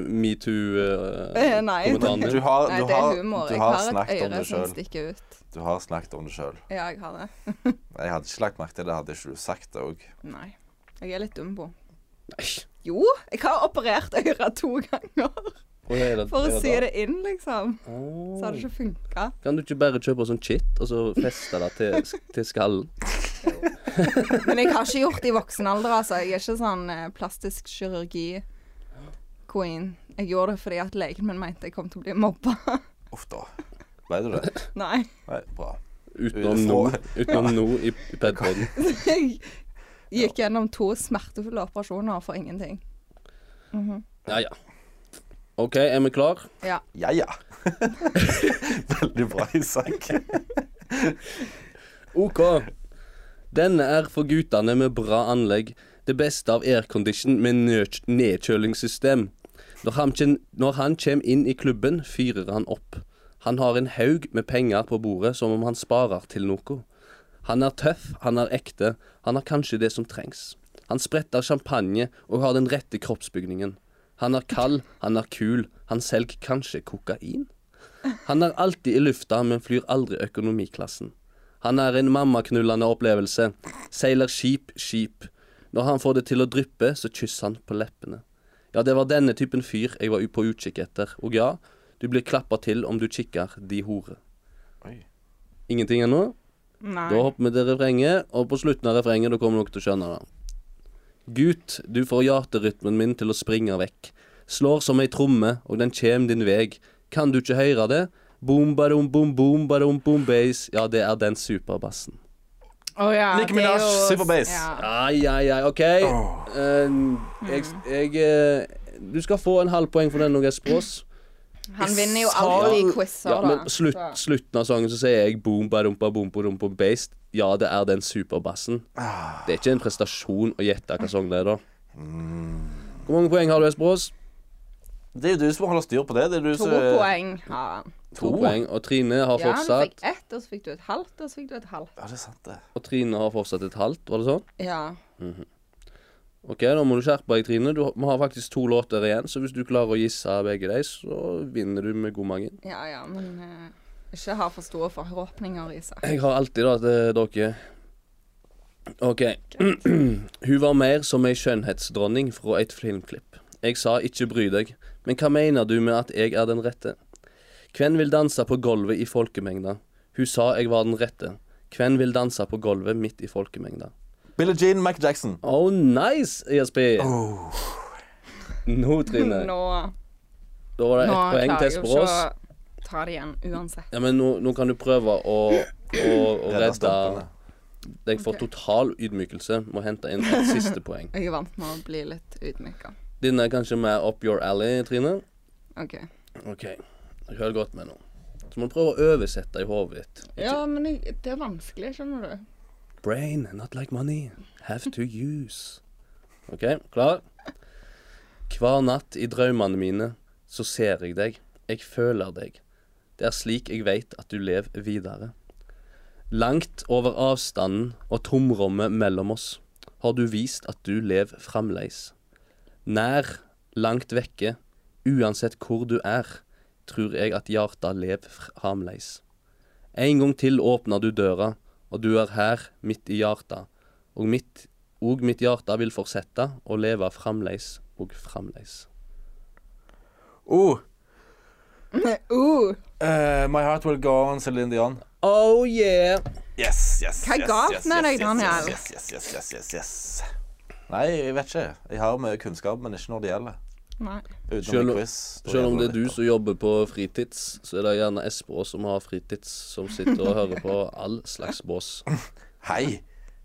Speaker 1: nei.
Speaker 3: metoo-kommentaren
Speaker 2: du
Speaker 3: min.
Speaker 2: har, du har,
Speaker 1: Nei, det er humor.
Speaker 2: du
Speaker 1: Jeg
Speaker 2: har
Speaker 1: har et
Speaker 2: snakket om
Speaker 1: øre
Speaker 2: det
Speaker 1: som
Speaker 2: sjøl.
Speaker 1: stikker ut.
Speaker 2: Du har snakket om det sjøl.
Speaker 1: Ja, jeg har det.
Speaker 2: Jeg hadde ikke lagt merke til det, hadde ikke du sagt det òg.
Speaker 1: Nei. Jeg er litt dumbo.
Speaker 3: Nei.
Speaker 1: Jo, jeg har operert øret to ganger
Speaker 3: Å, er det-
Speaker 1: for
Speaker 3: er
Speaker 1: å sy det inn, liksom.
Speaker 3: Å.
Speaker 1: Så har det ikke funka.
Speaker 3: Kan du ikke bare kjøpe sånn kit, og så feste det til, til skallen?
Speaker 1: Men jeg har ikke gjort det i voksen alder, altså. Jeg er ikke sånn eh, plastisk kirurgi-queen. Jeg gjorde det fordi at legen min mente jeg kom til å bli mobba.
Speaker 2: Uff da. Ble du det?
Speaker 1: Nei.
Speaker 2: Nei, bra.
Speaker 3: Utenom nå, utenom nå i, i padpoden.
Speaker 1: Jeg gikk gjennom to smertefulle operasjoner for ingenting.
Speaker 3: Ja, ja. OK, er vi klar?
Speaker 1: Ja.
Speaker 2: Ja ja. Veldig bra, Isak.
Speaker 3: OK. Denne er for guttene med bra anlegg. Det beste av aircondition med nø- nedkjølingssystem. Når han, kjen- når han kommer inn i klubben, fyrer han opp. Han har en haug med penger på bordet, som om han sparer til noe. Han er tøff, han er ekte, han har kanskje det som trengs. Han spretter champagne og har den rette kroppsbygningen. Han er kald, han er kul, han selger kanskje kokain? Han er alltid i lufta, men flyr aldri økonomiklassen. Han er en mammaknullende opplevelse. Seiler skip, skip. Når han får det til å dryppe, så kysser han på leppene. Ja, det var denne typen fyr jeg var u- på utkikk etter. Og ja, du blir klappa til om du kikker, de hore.
Speaker 2: Oi.
Speaker 3: Ingenting ennå?
Speaker 1: Nei.
Speaker 3: Da hopper vi til refrenget, og på slutten av refrenget da kommer dere til å skjønne det. Gutt, du får hjerterytmen min til å springe vekk. Slår som ei tromme, og den kjem din veg. Kan du ikke høre det? Boom, badum, boom, boom, badum, boom, bass. Ja, det er den superbassen.
Speaker 1: Å ja,
Speaker 2: Nicki
Speaker 1: det er
Speaker 2: Minaj,
Speaker 1: jo-
Speaker 2: Superbass.
Speaker 1: Ja.
Speaker 3: Ai, ai, ai, OK. Eh, jeg, jeg eh, Du skal få en halv poeng for den, Norges Brås.
Speaker 1: Han vinner jo
Speaker 2: Sa-
Speaker 1: alltid i quizer,
Speaker 3: Ja,
Speaker 1: da.
Speaker 3: men slutt,
Speaker 1: Så-
Speaker 3: slutten av sangen så sier jeg boom, badumpa, boom, badumpa, bass. Ja, det er den superbassen. Det er ikke en prestasjon å gjette hva sang det er, da. Hvor mange poeng har du, Esperås?
Speaker 2: Det er jo du som holder styr på det. Det er du
Speaker 1: To
Speaker 2: som
Speaker 1: poeng har han.
Speaker 3: To poeng. Og Trine
Speaker 1: Ja,
Speaker 3: har
Speaker 1: du fikk
Speaker 3: fortsatt
Speaker 1: ett, og så fikk du et halvt, og så fikk du et halvt.
Speaker 2: Ja, det er sant, det.
Speaker 3: Og Trine har fortsatt et halvt, var det sånn?
Speaker 1: Ja.
Speaker 3: OK, da må du skjerpe deg, Trine. Du har- Vi har faktisk to låter igjen, så hvis du klarer å gisse begge de, så vinner du med god margin.
Speaker 1: Ja ja, men eh, ikke ha for store forhåpninger i seg.
Speaker 3: Jeg har alltid da til dere eh, OK. Hun var mer som ei skjønnhetsdronning fra et filmklipp. Jeg sa ikke bry deg, men hva mener du med at jeg er den rette? Hvem vil danse på gulvet i folkemengda? Hun sa jeg var den rette. Hvem vil danse på gulvet midt i folkemengda?
Speaker 2: Billie Jean Mac Jackson.
Speaker 3: Oh, nice, ESP! Nå, Trine.
Speaker 1: Oh. Nå,
Speaker 3: Da var det
Speaker 1: nå
Speaker 3: ett poeng
Speaker 1: klarer
Speaker 3: til
Speaker 1: jeg jo ikke
Speaker 3: Språs.
Speaker 1: å ta det igjen uansett.
Speaker 3: Ja, men nå, nå kan du prøve å, å, å redde
Speaker 2: stumpene.
Speaker 3: deg for
Speaker 1: Ok.
Speaker 3: total ydmykelse med å hente inn et siste poeng.
Speaker 1: Jeg er vant med å bli litt ydmyka.
Speaker 3: Din er kanskje mer up your alley, Trine.
Speaker 1: OK.
Speaker 3: OK. Hør godt med nå. Så må du prøve å oversette i hodet ditt. Ikke-
Speaker 1: Ja, men jeg, det er vanskelig, skjønner du.
Speaker 3: Brain, not like money. Have to use. OK, klar? Hver natt i drømmene mine så ser jeg deg. Jeg føler deg. Det er slik jeg veit at du lever videre. Langt over avstanden og tomrommet mellom oss har du vist at du lever fremleis. Nær, langt vekke, uansett hvor du er, tror jeg at hjarta lever fremleis. En gang til åpner du døra, og du er her, midt i hjarta. Og mitt, og mitt hjarta vil fortsette å leve fremleis og fremleis.
Speaker 2: Oh,
Speaker 1: Uh,
Speaker 2: eh, My Heart Will Go On, Celine Dion.
Speaker 3: Oh yeah!
Speaker 2: Yes, yes,
Speaker 1: Hva
Speaker 2: yes,
Speaker 1: galt
Speaker 2: yes,
Speaker 1: med
Speaker 2: yes,
Speaker 1: deg, Daniel?
Speaker 2: Yes, yes, yes, yes, yes, yes, yes. Nei, jeg vet ikke. Jeg har mye kunnskap, men ikke når det gjelder.
Speaker 1: nei.
Speaker 2: Utenom
Speaker 3: Selv-
Speaker 2: i quiz. da
Speaker 3: Selv om
Speaker 2: gjelder
Speaker 3: det er du
Speaker 2: litt, da.
Speaker 3: som jobber på fritids, så er det gjerne Espå som har fritids, som sitter og hører på all slags bås.
Speaker 2: Hei!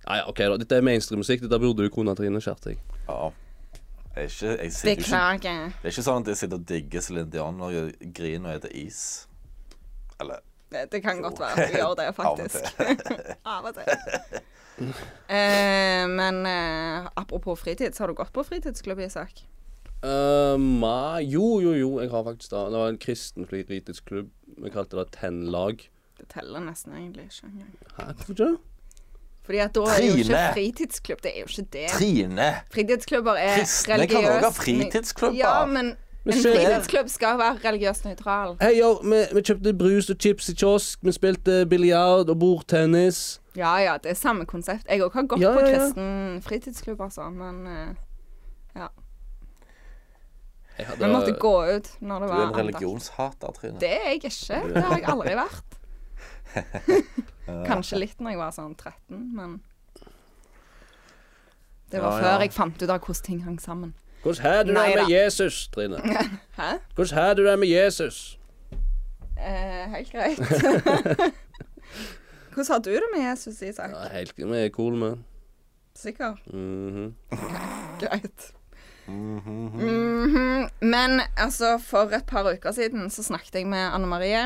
Speaker 3: Ja, ja, OK, da. Dette er mainstream-musikk. Dette burde du kunne, Trine Skjerting.
Speaker 2: Ja. Jeg er ikke, jeg sitter jo ikke
Speaker 1: Beklager.
Speaker 2: Det er ikke sånn at jeg sitter og digger Celine Dion og gjør- griner og spiser is. Eller
Speaker 1: Det, det kan godt være at du gjør det,
Speaker 2: Av og
Speaker 1: faktisk. Av og til. Eh, men eh, apropos fritid, så har du gått på fritidsklubb, Isak?
Speaker 3: Eh, ma, jo, jo, jo, jeg har faktisk det. Det var en kristen fritidsklubb. Vi kalte det Ten-lag.
Speaker 1: Det teller nesten egentlig ikke engang.
Speaker 3: Hæ, hvorfor ikke?
Speaker 1: Fordi at da er det jo ikke
Speaker 2: Trine!
Speaker 1: fritidsklubb, det er jo ikke det.
Speaker 2: Trine!
Speaker 1: Fritidsklubb er religiøst
Speaker 2: Kristne kan også ha fritidsklubber.
Speaker 1: Ja, men
Speaker 3: Men
Speaker 1: en
Speaker 3: skjer-
Speaker 1: fritidsklubb skal være religiøst nøytral.
Speaker 3: Hei, yo, vi, vi kjøpte brus og chips i kiosk, vi spilte biljard og bordtennis.
Speaker 1: Ja ja, det er samme konsept. Jeg òg har gått
Speaker 3: Ja,
Speaker 1: på
Speaker 3: ja, ja.
Speaker 1: kristen fritidsklubb, altså, men eh,
Speaker 3: Jeg hadde,
Speaker 1: Vi måtte gå ut når det
Speaker 2: Du
Speaker 1: var
Speaker 2: er en
Speaker 1: andakt.
Speaker 2: religionshater, Trine.
Speaker 1: Det er jeg ikke. Det har jeg aldri vært. Kanskje litt når jeg var sånn 13, men Det
Speaker 2: Ja, ja.
Speaker 1: var før jeg fant ut av hvordan ting hang sammen.
Speaker 3: Hvordan har du det
Speaker 1: Nei,
Speaker 3: med
Speaker 1: da.
Speaker 3: Jesus, Trine?
Speaker 1: Hæ?
Speaker 3: Hvordan har du det med Jesus?
Speaker 1: Eh, helt greit. hvordan har du det med Jesus, Isak?
Speaker 3: Ja, helt, vi er cool, vi.
Speaker 1: Sikker?
Speaker 3: Mhm.
Speaker 1: Greit.
Speaker 2: Mm-hmm.
Speaker 1: Mhm. Men altså, for et par uker siden så snakket jeg med Anne Marie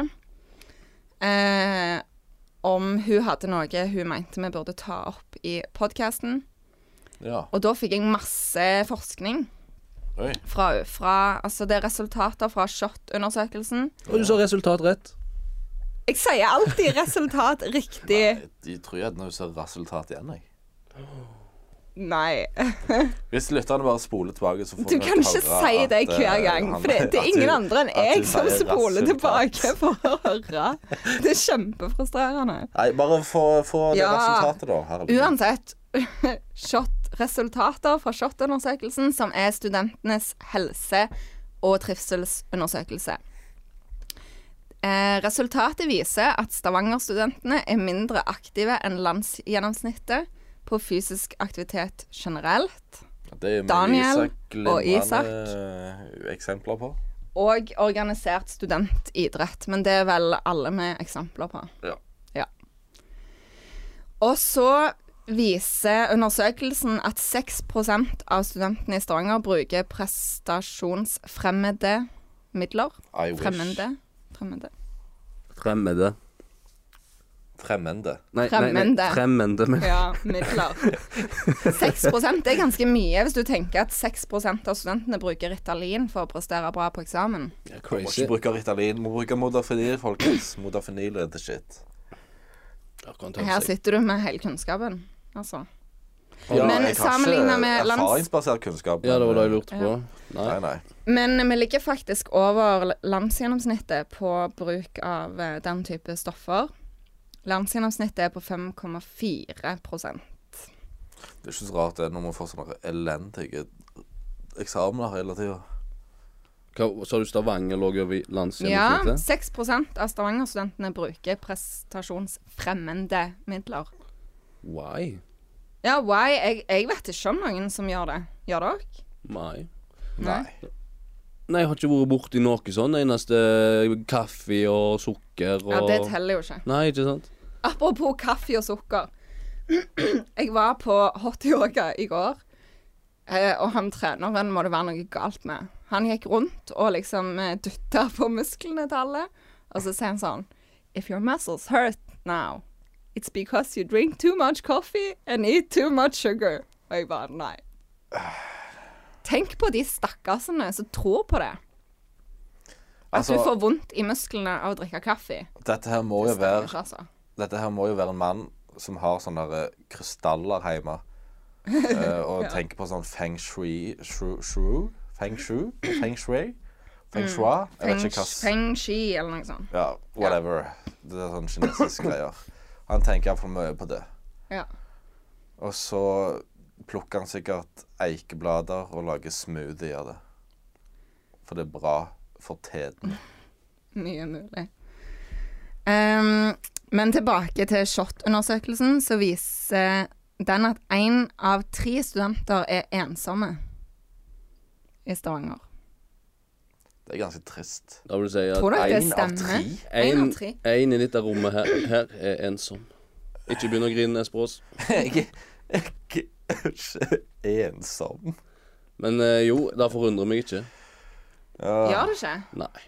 Speaker 1: eh, om hun hadde noe hun mente vi burde ta opp i podkasten.
Speaker 2: Ja.
Speaker 1: Og da fikk jeg masse forskning
Speaker 2: Oi.
Speaker 1: fra, fra Altså, det er resultater fra SHoT-undersøkelsen.
Speaker 3: Og du sa resultat rett.
Speaker 1: Jeg sier alltid resultat riktig.
Speaker 2: Jeg, jeg tror jeg hadde ser resultat igjen, jeg.
Speaker 1: Nei.
Speaker 2: Hvis lytterne bare spoler tilbake, så får
Speaker 1: Du kan ikke si det hver
Speaker 2: eh,
Speaker 1: gang, for det, det er ingen andre enn jeg som spoler tilbake for å høre. Det er kjempefrustrerende.
Speaker 2: Nei, bare få, få det
Speaker 1: Ja.
Speaker 2: resultatet, da. herregud.
Speaker 1: Uansett, SHoT-resultater fra SHoT-undersøkelsen, som er studentenes helse- og trivselsundersøkelse. Eh, resultatet viser at Stavanger-studentene er mindre aktive enn landsgjennomsnittet på fysisk aktivitet generelt.
Speaker 2: Det er mye
Speaker 1: Daniel
Speaker 2: Isak
Speaker 1: og Isak.
Speaker 2: glimrende Eksempler på.
Speaker 1: Og organisert studentidrett, men det er vel alle med eksempler på.
Speaker 2: Ja.
Speaker 1: Ja. Og så viser undersøkelsen at 6 av studentene i Stavanger bruker prestasjonsfremmede midler.
Speaker 2: I wish.
Speaker 1: Fremmede. Fremmede.
Speaker 3: Fremmede.
Speaker 2: Fremmende.
Speaker 3: Nei,
Speaker 1: Fremmende.
Speaker 3: fremmende. Men.
Speaker 1: Ja, midler. 6 det er ganske mye hvis du tenker at 6 av studentene bruker Ritalin for å prestere bra på eksamen.
Speaker 2: Må ikke bruke Ritalin, må bruke Modafinil, folkens. Modafinil er the shit.
Speaker 1: Her sitter du med hele kunnskapen, altså.
Speaker 3: Ja,
Speaker 1: Men
Speaker 2: jeg har ikke
Speaker 1: sammenlignet med lands-
Speaker 2: Erfaringsbasert kunnskap.
Speaker 3: ja, det var det
Speaker 2: men-
Speaker 3: jeg
Speaker 2: eh,
Speaker 3: lurte på.
Speaker 2: Nei,
Speaker 3: Nei.
Speaker 2: nei.
Speaker 1: Men vi ligger faktisk over landsgjennomsnittet på bruk av eh, den type stoffer. Landsgjennomsnittet er på 5,4
Speaker 2: Det er ikke så rart det når man får sånne elendige eksamener hele tida.
Speaker 3: Hva, så har du Stavanger lå over
Speaker 1: Ja,
Speaker 3: landsgjennomsnittet?
Speaker 1: 6 av Stavanger-studentene bruker prestasjonsfremmende midler.
Speaker 3: Why?
Speaker 1: Ja, why? Jeg, jeg vet ikke om noen som gjør det. Gjør dere?
Speaker 3: Nei.
Speaker 1: Nei.
Speaker 3: Nei, jeg har ikke vært borti noe sånn. Eneste eh, kaffe og sukker og
Speaker 1: Ja, det teller jo ikke.
Speaker 3: Nei, ikke sant?
Speaker 1: Apropos kaffe og sukker. Jeg var på hot yoga i går, eh, og han treneren må det være noe galt med. Han gikk rundt og liksom eh, dytta på musklene til alle, og så sier han sånn If your muscles hurt now, it's because you drink too much coffee and eat too much sugar. Og jeg bare nei. Tenk på de stakkarsene som tror på det. At
Speaker 2: Altså,
Speaker 1: du får vondt i musklene av å drikke kaffe.
Speaker 2: dette her må
Speaker 1: Det
Speaker 2: jo
Speaker 1: stemmer
Speaker 2: være
Speaker 1: ikke, altså.
Speaker 2: Dette her må jo være en mann som har sånne der, eh, krystaller hjemme. eh, og tenker på sånn feng shui shru, shru, Feng shu? Feng shui? Feng shua? Jeg vet ikke hva
Speaker 1: Feng,
Speaker 2: s-
Speaker 1: feng Shi eller noe sånt.
Speaker 2: Ja, whatever. Det er sånn kinesiske greier. Han tenker iallfall mye på det.
Speaker 1: Ja.
Speaker 2: Og så plukker han sikkert eikeblader og lager smoothie av det. For det er bra for teden.
Speaker 1: Mye mulig. Ehm, men tilbake til SHoT-undersøkelsen, så viser den at én av tre studenter er ensomme i Stavanger.
Speaker 2: Det er ganske trist.
Speaker 3: Da vil du si
Speaker 1: Tror
Speaker 3: at
Speaker 1: dere det
Speaker 2: Én av
Speaker 1: stemmer?
Speaker 2: tre?
Speaker 1: En
Speaker 3: en,
Speaker 1: av tre.
Speaker 3: en i dette rommet her, her er ensom. Ikke begynn å grine, Espros.
Speaker 2: Jeg er ikke ensom.
Speaker 3: Men eh, jo, det forundrer meg ikke.
Speaker 2: Ah.
Speaker 1: Gjør det ikke?
Speaker 3: Nei.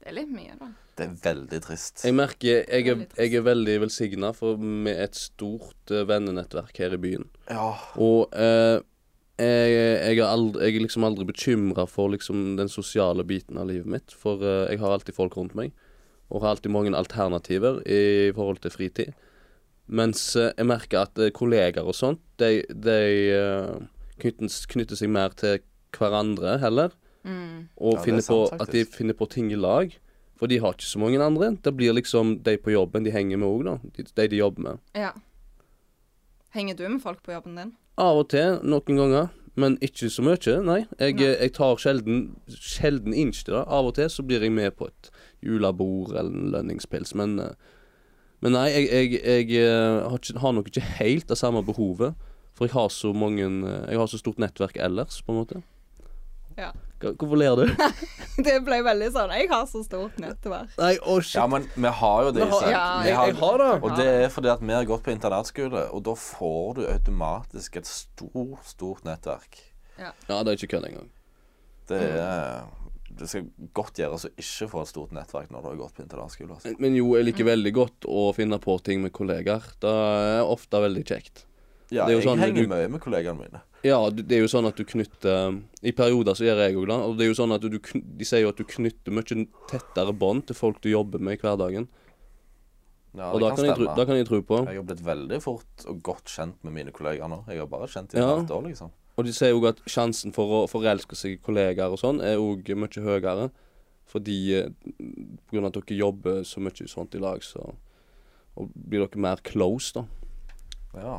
Speaker 1: Det er litt mye, da.
Speaker 2: Det er veldig trist.
Speaker 3: Jeg merker jeg er, jeg er veldig velsigna med et stort eh, vennenettverk her i byen.
Speaker 2: Ja.
Speaker 3: Og eh, jeg, jeg, er aldri, jeg er liksom aldri bekymra for liksom, den sosiale biten av livet mitt. For eh, jeg har alltid folk rundt meg, og har alltid mange alternativer i forhold til fritid. Mens eh, jeg merker at eh, kollegaer og sånt, de, de eh, knytter, knytter seg mer til hverandre heller. Og
Speaker 2: Ja, det er
Speaker 3: finner på,
Speaker 2: sant,
Speaker 3: at de
Speaker 2: faktisk.
Speaker 3: finner på ting i lag. For de har ikke så mange andre. Det blir liksom de på jobben de henger med òg, da. De, de de jobber med.
Speaker 1: Ja. Henger du med folk på jobben din?
Speaker 3: Av og til, noen ganger. Men ikke så mye, nei. Jeg, jeg tar sjelden, sjelden inch til det. Av og til så blir jeg med på et julebord eller en lønningspils, men eh, Men nei, jeg, jeg, jeg eh, har, ikke, har nok ikke helt det samme behovet. For jeg har så mange eh, Jeg har så stort nettverk ellers, på en måte.
Speaker 1: Ja.
Speaker 3: Hva- Hvorfor ler du?
Speaker 1: Det ble veldig sånn Jeg har så stort nettverk.
Speaker 3: Nei, å
Speaker 2: ja,
Speaker 3: shit.
Speaker 2: men vi har jo det,
Speaker 3: Vi har-
Speaker 2: Isak.
Speaker 1: Ja,
Speaker 2: Vi
Speaker 3: Jeg, jeg har det.
Speaker 2: Og det er fordi at vi har gått på internatskole, og da får du automatisk et stort, stort nettverk.
Speaker 3: Ja, det er ikke kødd engang.
Speaker 2: Det er eh, Det skal godt gjøres å ikke få et stort nettverk når du har gått på internatskole. Altså.
Speaker 3: Men jo, jeg liker veldig godt å finne på ting med kollegaer. Det er ofte veldig kjekt.
Speaker 2: Ja,
Speaker 3: Det er jo
Speaker 2: jeg
Speaker 3: sånn
Speaker 2: henger
Speaker 3: du-
Speaker 2: mye med kollegene mine.
Speaker 3: Ja, du- det er jo sånn at du knytter eh, I perioder så gjør jeg òg det. Og det er jo sånn at du, kn- de sier jo at du knytter mye tettere bånd til folk du jobber med i hverdagen.
Speaker 2: Ja,
Speaker 3: Og
Speaker 2: det
Speaker 3: da
Speaker 2: kan
Speaker 3: kan, jeg tro,
Speaker 2: stemme.
Speaker 3: da kan jeg tro på.
Speaker 2: Jeg har blitt veldig fort og godt kjent med mine kollegaer nå. Jeg har bare kjent dem i
Speaker 3: Ja.
Speaker 2: et halvt år, liksom.
Speaker 3: Og de sier òg at sjansen for å forelske seg i kollegaer og sånn er òg mye høyere. Fordi eh, på grunn av at dere jobber så mye sånt i lag, så og blir dere mer close, da.
Speaker 2: Ja.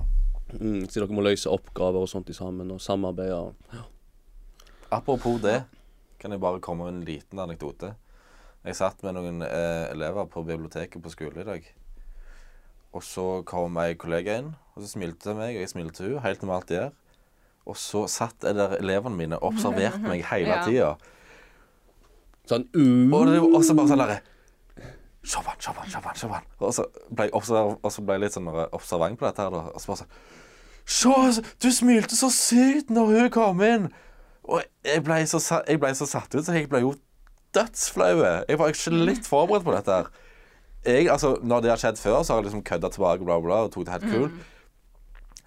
Speaker 3: Mm, så dere må løse oppgaver og sånt i sammen, og samarbeide. og-
Speaker 2: Apropos det, kan jeg bare komme med en liten anekdote. Jeg satt med noen eh, elever på biblioteket på skole i dag. Og så kom ei kollega inn, og så smilte hun til meg, og jeg smilte til hun, helt som vi alltid gjør. Og så satt jeg der elevene mine og observerte meg hele
Speaker 1: Ja.
Speaker 2: tida.
Speaker 3: Sånn uh,
Speaker 2: Og det var også bare sånn derre Sjaban, sjaban, sjaban, sjaban. Og så ble jeg, observ og så ble jeg litt sånn der observant på dette her, da. Og så bare sånn Se, altså, du smilte så sykt når hun kom inn! Og jeg ble så, sa- jeg ble så satt ut, så jeg ble jo dødsflau. Jeg var ikke litt forberedt på dette her. Jeg, altså, når det har skjedd før, så har jeg liksom kødda tilbake bla, bla, og tok det helt cool.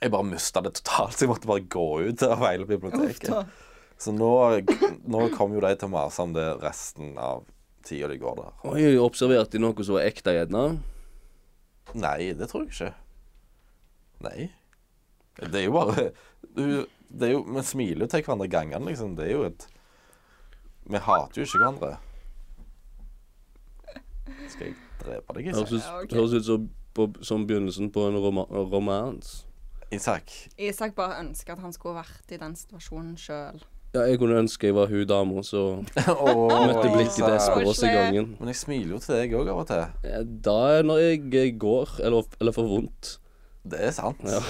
Speaker 2: Jeg bare mista det totalt, så jeg måtte bare gå ut av hele biblioteket.
Speaker 1: da.
Speaker 2: Så nå, nå kommer jo de til å mase om det resten av tida de går der.
Speaker 3: Oi, observerte de noe som var ekte, gjerne?
Speaker 2: Nei, det tror jeg ikke. Nei. Det er jo bare du, det er jo, Vi smiler jo til hverandre gangene, liksom. Det er jo et Vi hater jo ikke hverandre. Skal jeg drepe deg, Isak?
Speaker 3: Høres ut,
Speaker 1: Ja, ok.
Speaker 3: høres ut som, på, som begynnelsen på en roma, romans.
Speaker 2: Isak.
Speaker 1: Isak bare ønsker at han skulle vært i den situasjonen sjøl.
Speaker 3: Ja, jeg kunne ønske jeg var hun dama som møtte blikket til
Speaker 2: Isak.
Speaker 3: Esperås i gangen.
Speaker 2: Men jeg smiler jo til deg òg av og til.
Speaker 3: Ja, Da er når jeg eh, går, eller, eller får vondt,
Speaker 2: Det er sant.
Speaker 3: Ja.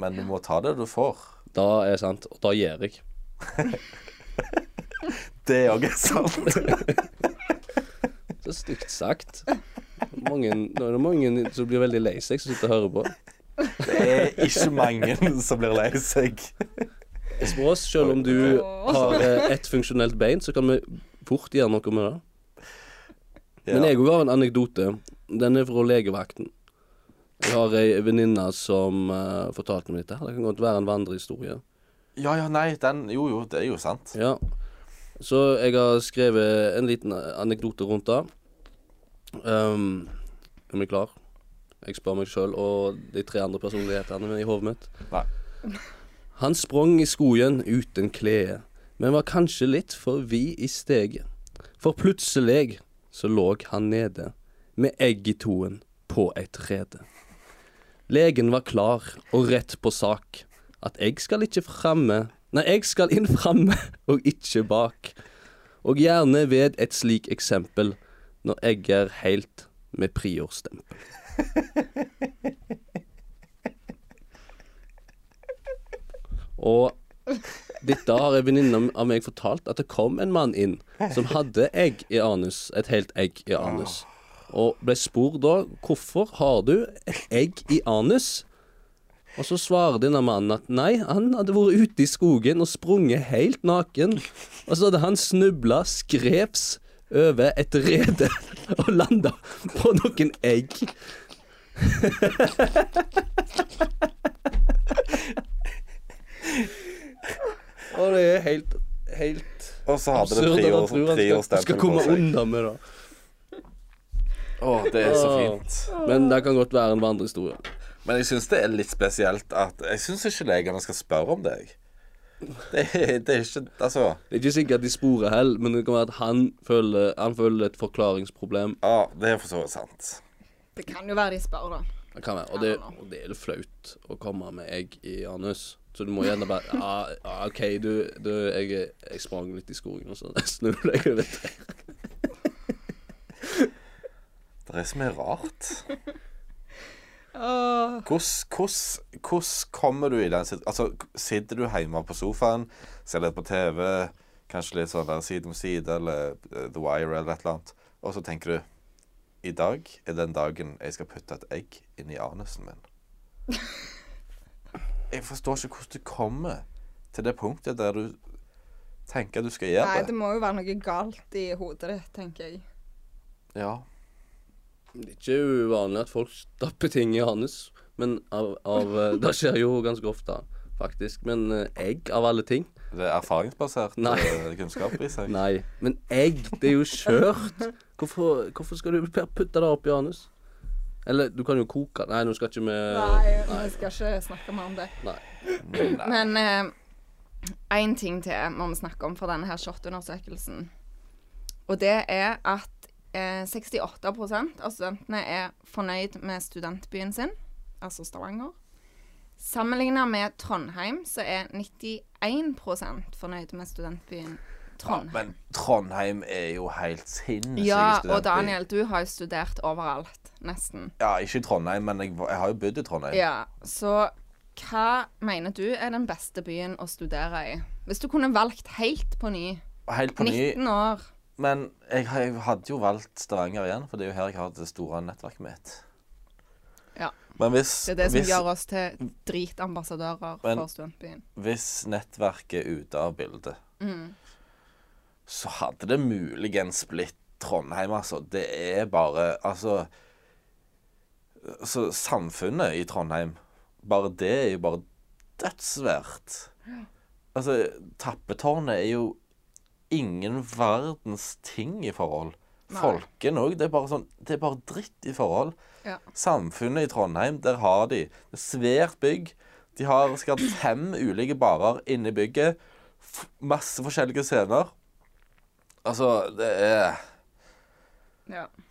Speaker 2: Men du må ta det du får.
Speaker 3: da er det sant. Og da gjør jeg.
Speaker 2: Det òg er sant.
Speaker 3: Så stygt sagt. Mange, nå er det mange som blir veldig lei seg, som sitter og hører på.
Speaker 2: Det er ikke mange som blir lei seg.
Speaker 3: Esperås, selv om du har eh, ett funksjonelt bein, så kan vi fort gjøre noe med det. Men jeg òg har en anekdote. Den er fra legevakten. Jeg har ei venninne som eh, fortalte meg dette. Det kan godt være en vandrehistorie.
Speaker 2: Ja, ja, nei, den Jo, jo, det er jo sant.
Speaker 3: Ja. Så jeg har skrevet en liten eh, anekdote rundt det. Um, er vi klar? Jeg spør meg sjøl og de tre andre personlighetene mine i hodet mitt.
Speaker 2: Nei.
Speaker 3: Han sprang i skogen uten klede, men var kanskje litt for vid i steget. For plutselig så lå han nede, med egg i toen, på et rede. Legen var klar og rett på sak, at jeg skal ikke framme, nei, jeg skal inn framme og ikke bak. Og gjerne ved et slik eksempel, når jeg er helt med priorstempel. Og dette har en venninne av meg fortalt, at det kom en mann inn som hadde egg i anus, et helt egg i anus. Og ble spurt da hvorfor har du et egg i anus? Og så svarer denne mannen at nei, han hadde vært ute i skogen og sprunget helt naken. Og så hadde han snubla skreps over et rede og landa på noen egg. Og det er helt, helt
Speaker 2: Og så hadde det
Speaker 3: absurd at han tror han skal,
Speaker 2: priorstempel
Speaker 3: skal
Speaker 2: på
Speaker 3: komme
Speaker 2: seg.
Speaker 3: unna med det.
Speaker 2: Å, det er så
Speaker 3: Åh.
Speaker 2: fint.
Speaker 3: Men det kan godt være en vandrehistorie.
Speaker 2: Men jeg syns det er litt spesielt at Jeg syns ikke legene skal spørre om deg. Det, er- det er ikke Altså
Speaker 3: Det er ikke sikkert at de sporer hell, men det kan være at han føler, han føler et forklaringsproblem.
Speaker 2: Ja, det er for så vidt sant.
Speaker 1: Det kan jo være de spør, da.
Speaker 3: Det kan være, og, det, og det er det flaut å komme med egg i anus. Så du må gjerne bare Ja, ja, OK, du, du jeg, jeg sprang litt i skogen, og så snubla jeg over et tre.
Speaker 2: Det er så mye rart.
Speaker 1: Åh.
Speaker 2: Hvordan- Hvordan hvordan kommer du i den sit- Altså, sitter du hjemme på sofaen, ser litt på TV, kanskje litt sånn der Side om side eller eh, The Wire eller et eller annet, og så tenker du I dag er den dagen jeg skal putte et egg inn i anusen min. Jeg forstår ikke hvordan du kommer til det punktet der du tenker du skal
Speaker 1: Nei,
Speaker 2: gjøre
Speaker 1: det
Speaker 2: det.
Speaker 1: må jo være noe galt i hodet ditt, tenker jeg.
Speaker 2: Ja.
Speaker 3: Det er ikke uvanlig at folk stapper ting i anus, men av, av eh, Det skjer jo ganske ofte, faktisk. Men eh, egg, av alle ting
Speaker 2: Det er erfaringsbasert
Speaker 3: Nei.
Speaker 2: eh, kunnskap i seg.
Speaker 3: Nei. Men egg, det er jo skjørt. Hvorfor, hvorfor skal du putte det opp i anus? Eller du kan jo koke Nei, nå skal ikke vi
Speaker 1: Nei, vi skal ikke snakke mer om det.
Speaker 3: Nei.
Speaker 1: Men én ting til må vi snakke om fra denne her SHoT-undersøkelsen. Og det er at eh, 68 av studentene er fornøyd med studentbyen sin, altså Stavanger. Sammenlignet med Trondheim så er 91 fornøyd med studentbyen
Speaker 2: Ja,
Speaker 1: Trondheim.
Speaker 2: men Trondheim er jo helt sinnssyke
Speaker 1: Ja, og
Speaker 2: studenter.
Speaker 1: Daniel, du har jo studert overalt, nesten.
Speaker 2: Ja, ikke i Trondheim, men jeg, var- jeg har jo bodd i Trondheim.
Speaker 1: Ja, så hva mener du er den beste byen å studere i? Hvis du kunne valgt helt på ny,
Speaker 2: Helt på ny.
Speaker 1: 19 år
Speaker 2: Men jeg, har- jeg hadde jo valgt Stavanger igjen, for det er jo her jeg har det store nettverket mitt.
Speaker 1: Ja.
Speaker 2: Men hvis,
Speaker 1: Det er det som
Speaker 2: hvis,
Speaker 1: gjør oss til dritambassadører
Speaker 2: Men-
Speaker 1: for studentbyen.
Speaker 2: hvis nettverket er ute av bildet, så hadde det muligens blitt Trondheim, altså. Det er bare Altså Så samfunnet i Trondheim, bare det er jo bare dødssvært. Altså, tappetårnet er jo ingen verdens ting i forhold.
Speaker 1: Nei.
Speaker 2: Folken òg. Det er bare sånn Det er bare dritt i forhold.
Speaker 1: Ja.
Speaker 2: Samfunnet i Trondheim, der har de et svært bygg. De har sikkert fem ulike barer inne i bygget. F masse forskjellige scener. Altså, det er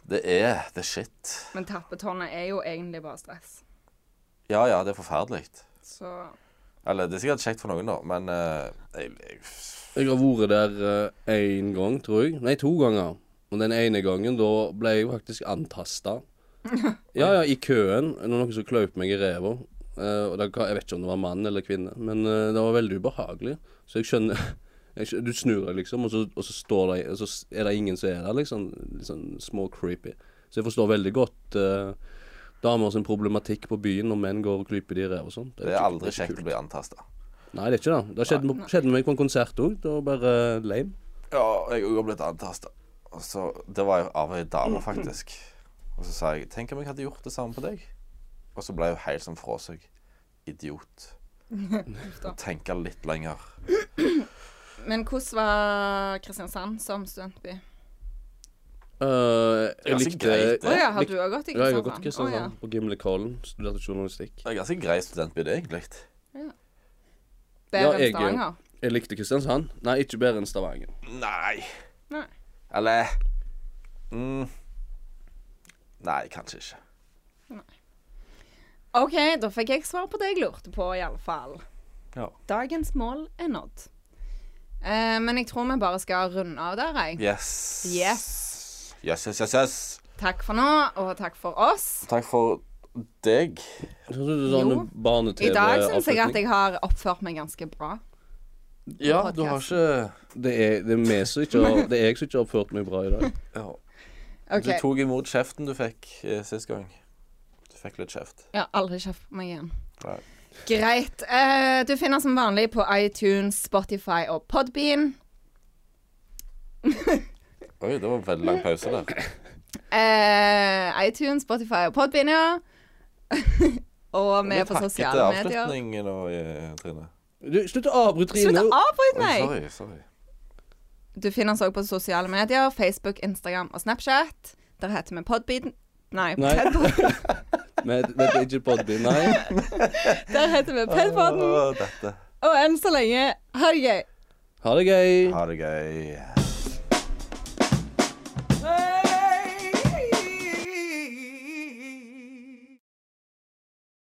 Speaker 2: Det er the shit.
Speaker 1: Men tappetårnet er jo egentlig bare stress.
Speaker 2: Ja, ja, det er forferdelig.
Speaker 1: Så
Speaker 2: Eller det er sikkert kjekt for noen, da, men eh, jeg, jeg,
Speaker 3: Jeg har vært der én gang, tror jeg. Nei, to ganger. Og den ene gangen, da ble jeg faktisk antasta. Ja, ja, i køen. Det var noen som klaup meg i ræva. Eh, og det, jeg vet ikke om det var mann eller kvinne, men eh, det var veldig ubehagelig. Så jeg skjønner jeg, skjø- Du snur deg, liksom, og så, og så står det Og så s- er det ingen som er der, liksom. Litt sånn små creepy. Så jeg forstår veldig godt eh, damer sin problematikk på byen når menn går og klyper de i ræva og sånt.
Speaker 2: det er
Speaker 3: ikke-
Speaker 2: aldri
Speaker 3: ikke
Speaker 2: kjekt å bli antasta.
Speaker 3: kult. Nei, det er ikke det. Det skjedde, med- skjedde med meg på en konsert òg. Det var bare eh, lame.
Speaker 2: Ja, jeg har blitt antasta. Og så, Det var jo av ei
Speaker 1: Mm-hmm.
Speaker 2: dame, faktisk. Og så sa jeg 'Tenk om jeg hadde gjort det samme på deg'. Og så ble hun helt sånn fra seg. Idiot.
Speaker 1: da.
Speaker 2: Tenke litt lenger.
Speaker 1: Men hvordan var Kristiansand som studentby?
Speaker 3: Eh,
Speaker 2: Det er
Speaker 3: jeg
Speaker 2: ganske
Speaker 3: likte
Speaker 2: greit, det.
Speaker 1: Å ja, har du
Speaker 3: lik-
Speaker 1: òg gått i
Speaker 3: Ja, jeg har gått
Speaker 1: Kristiansand?
Speaker 3: til Kristiansand. På Gimlekollen. Studerte journalistikk.
Speaker 2: Det er ganske grei studentby, det, egentlig.
Speaker 3: Ja,
Speaker 1: Bedre enn
Speaker 3: jeg- eh,
Speaker 1: Stavanger?
Speaker 3: Jeg likte Kristiansand. Nei, ikke bedre enn Stavanger.
Speaker 2: Nei.
Speaker 1: Nei.
Speaker 2: Eller mm. Nei, kanskje ikke.
Speaker 1: OK, da fikk jeg svar på det jeg lurte på, iallfall.
Speaker 2: Ja.
Speaker 1: Dagens mål er nådd. Eh, men jeg tror vi bare skal runde av der, jeg.
Speaker 2: Yes.
Speaker 1: Yes.
Speaker 2: Yes, yes, yes, yes.
Speaker 1: Takk for nå, og takk for oss.
Speaker 2: Takk for deg.
Speaker 3: Jeg synes det er
Speaker 1: Jo.
Speaker 3: Sånn
Speaker 1: I dag syns jeg at
Speaker 3: barne-TV-avslutning.
Speaker 1: jeg har oppført meg ganske bra.
Speaker 2: Ja, du har ikke
Speaker 3: Det er, det, er meg som ikke har, det er jeg som ikke har oppført meg bra i dag.
Speaker 2: ja.
Speaker 1: OK.
Speaker 2: Du tok imot kjeften du fikk eh, sist gang. Du fikk litt kjeft.
Speaker 1: Jeg har aldri kjeft på meg igjen.
Speaker 2: Nei.
Speaker 1: Greit. Eh, du finner som vanlig på iTunes, Spotify og Podbean.
Speaker 2: Oi, det var veldig lang pause der.
Speaker 1: Eh, iTunes, Spotify og Podbean, ja. og vi er på sosiale medier.
Speaker 2: avslutning nå, eh, Trine.
Speaker 3: Du, slutt å avbryte,
Speaker 1: Slutt
Speaker 3: Trine.
Speaker 1: å avbryte
Speaker 2: Oi,
Speaker 1: meg!
Speaker 2: sorry, sorry.
Speaker 1: Du finner oss òg på sosiale medier. Facebook, Instagram og Snapchat. Der heter vi Podbean. Nei,
Speaker 3: Nei.
Speaker 1: Pedpodden.
Speaker 3: Nei, det er ikke Podby. Nei.
Speaker 1: Der heter vi
Speaker 2: Ah.
Speaker 1: Pedpodden.
Speaker 2: Å, dette.
Speaker 1: Og enn så lenge, ha det gøy.
Speaker 3: Ha det gøy.
Speaker 2: Ha det gøy.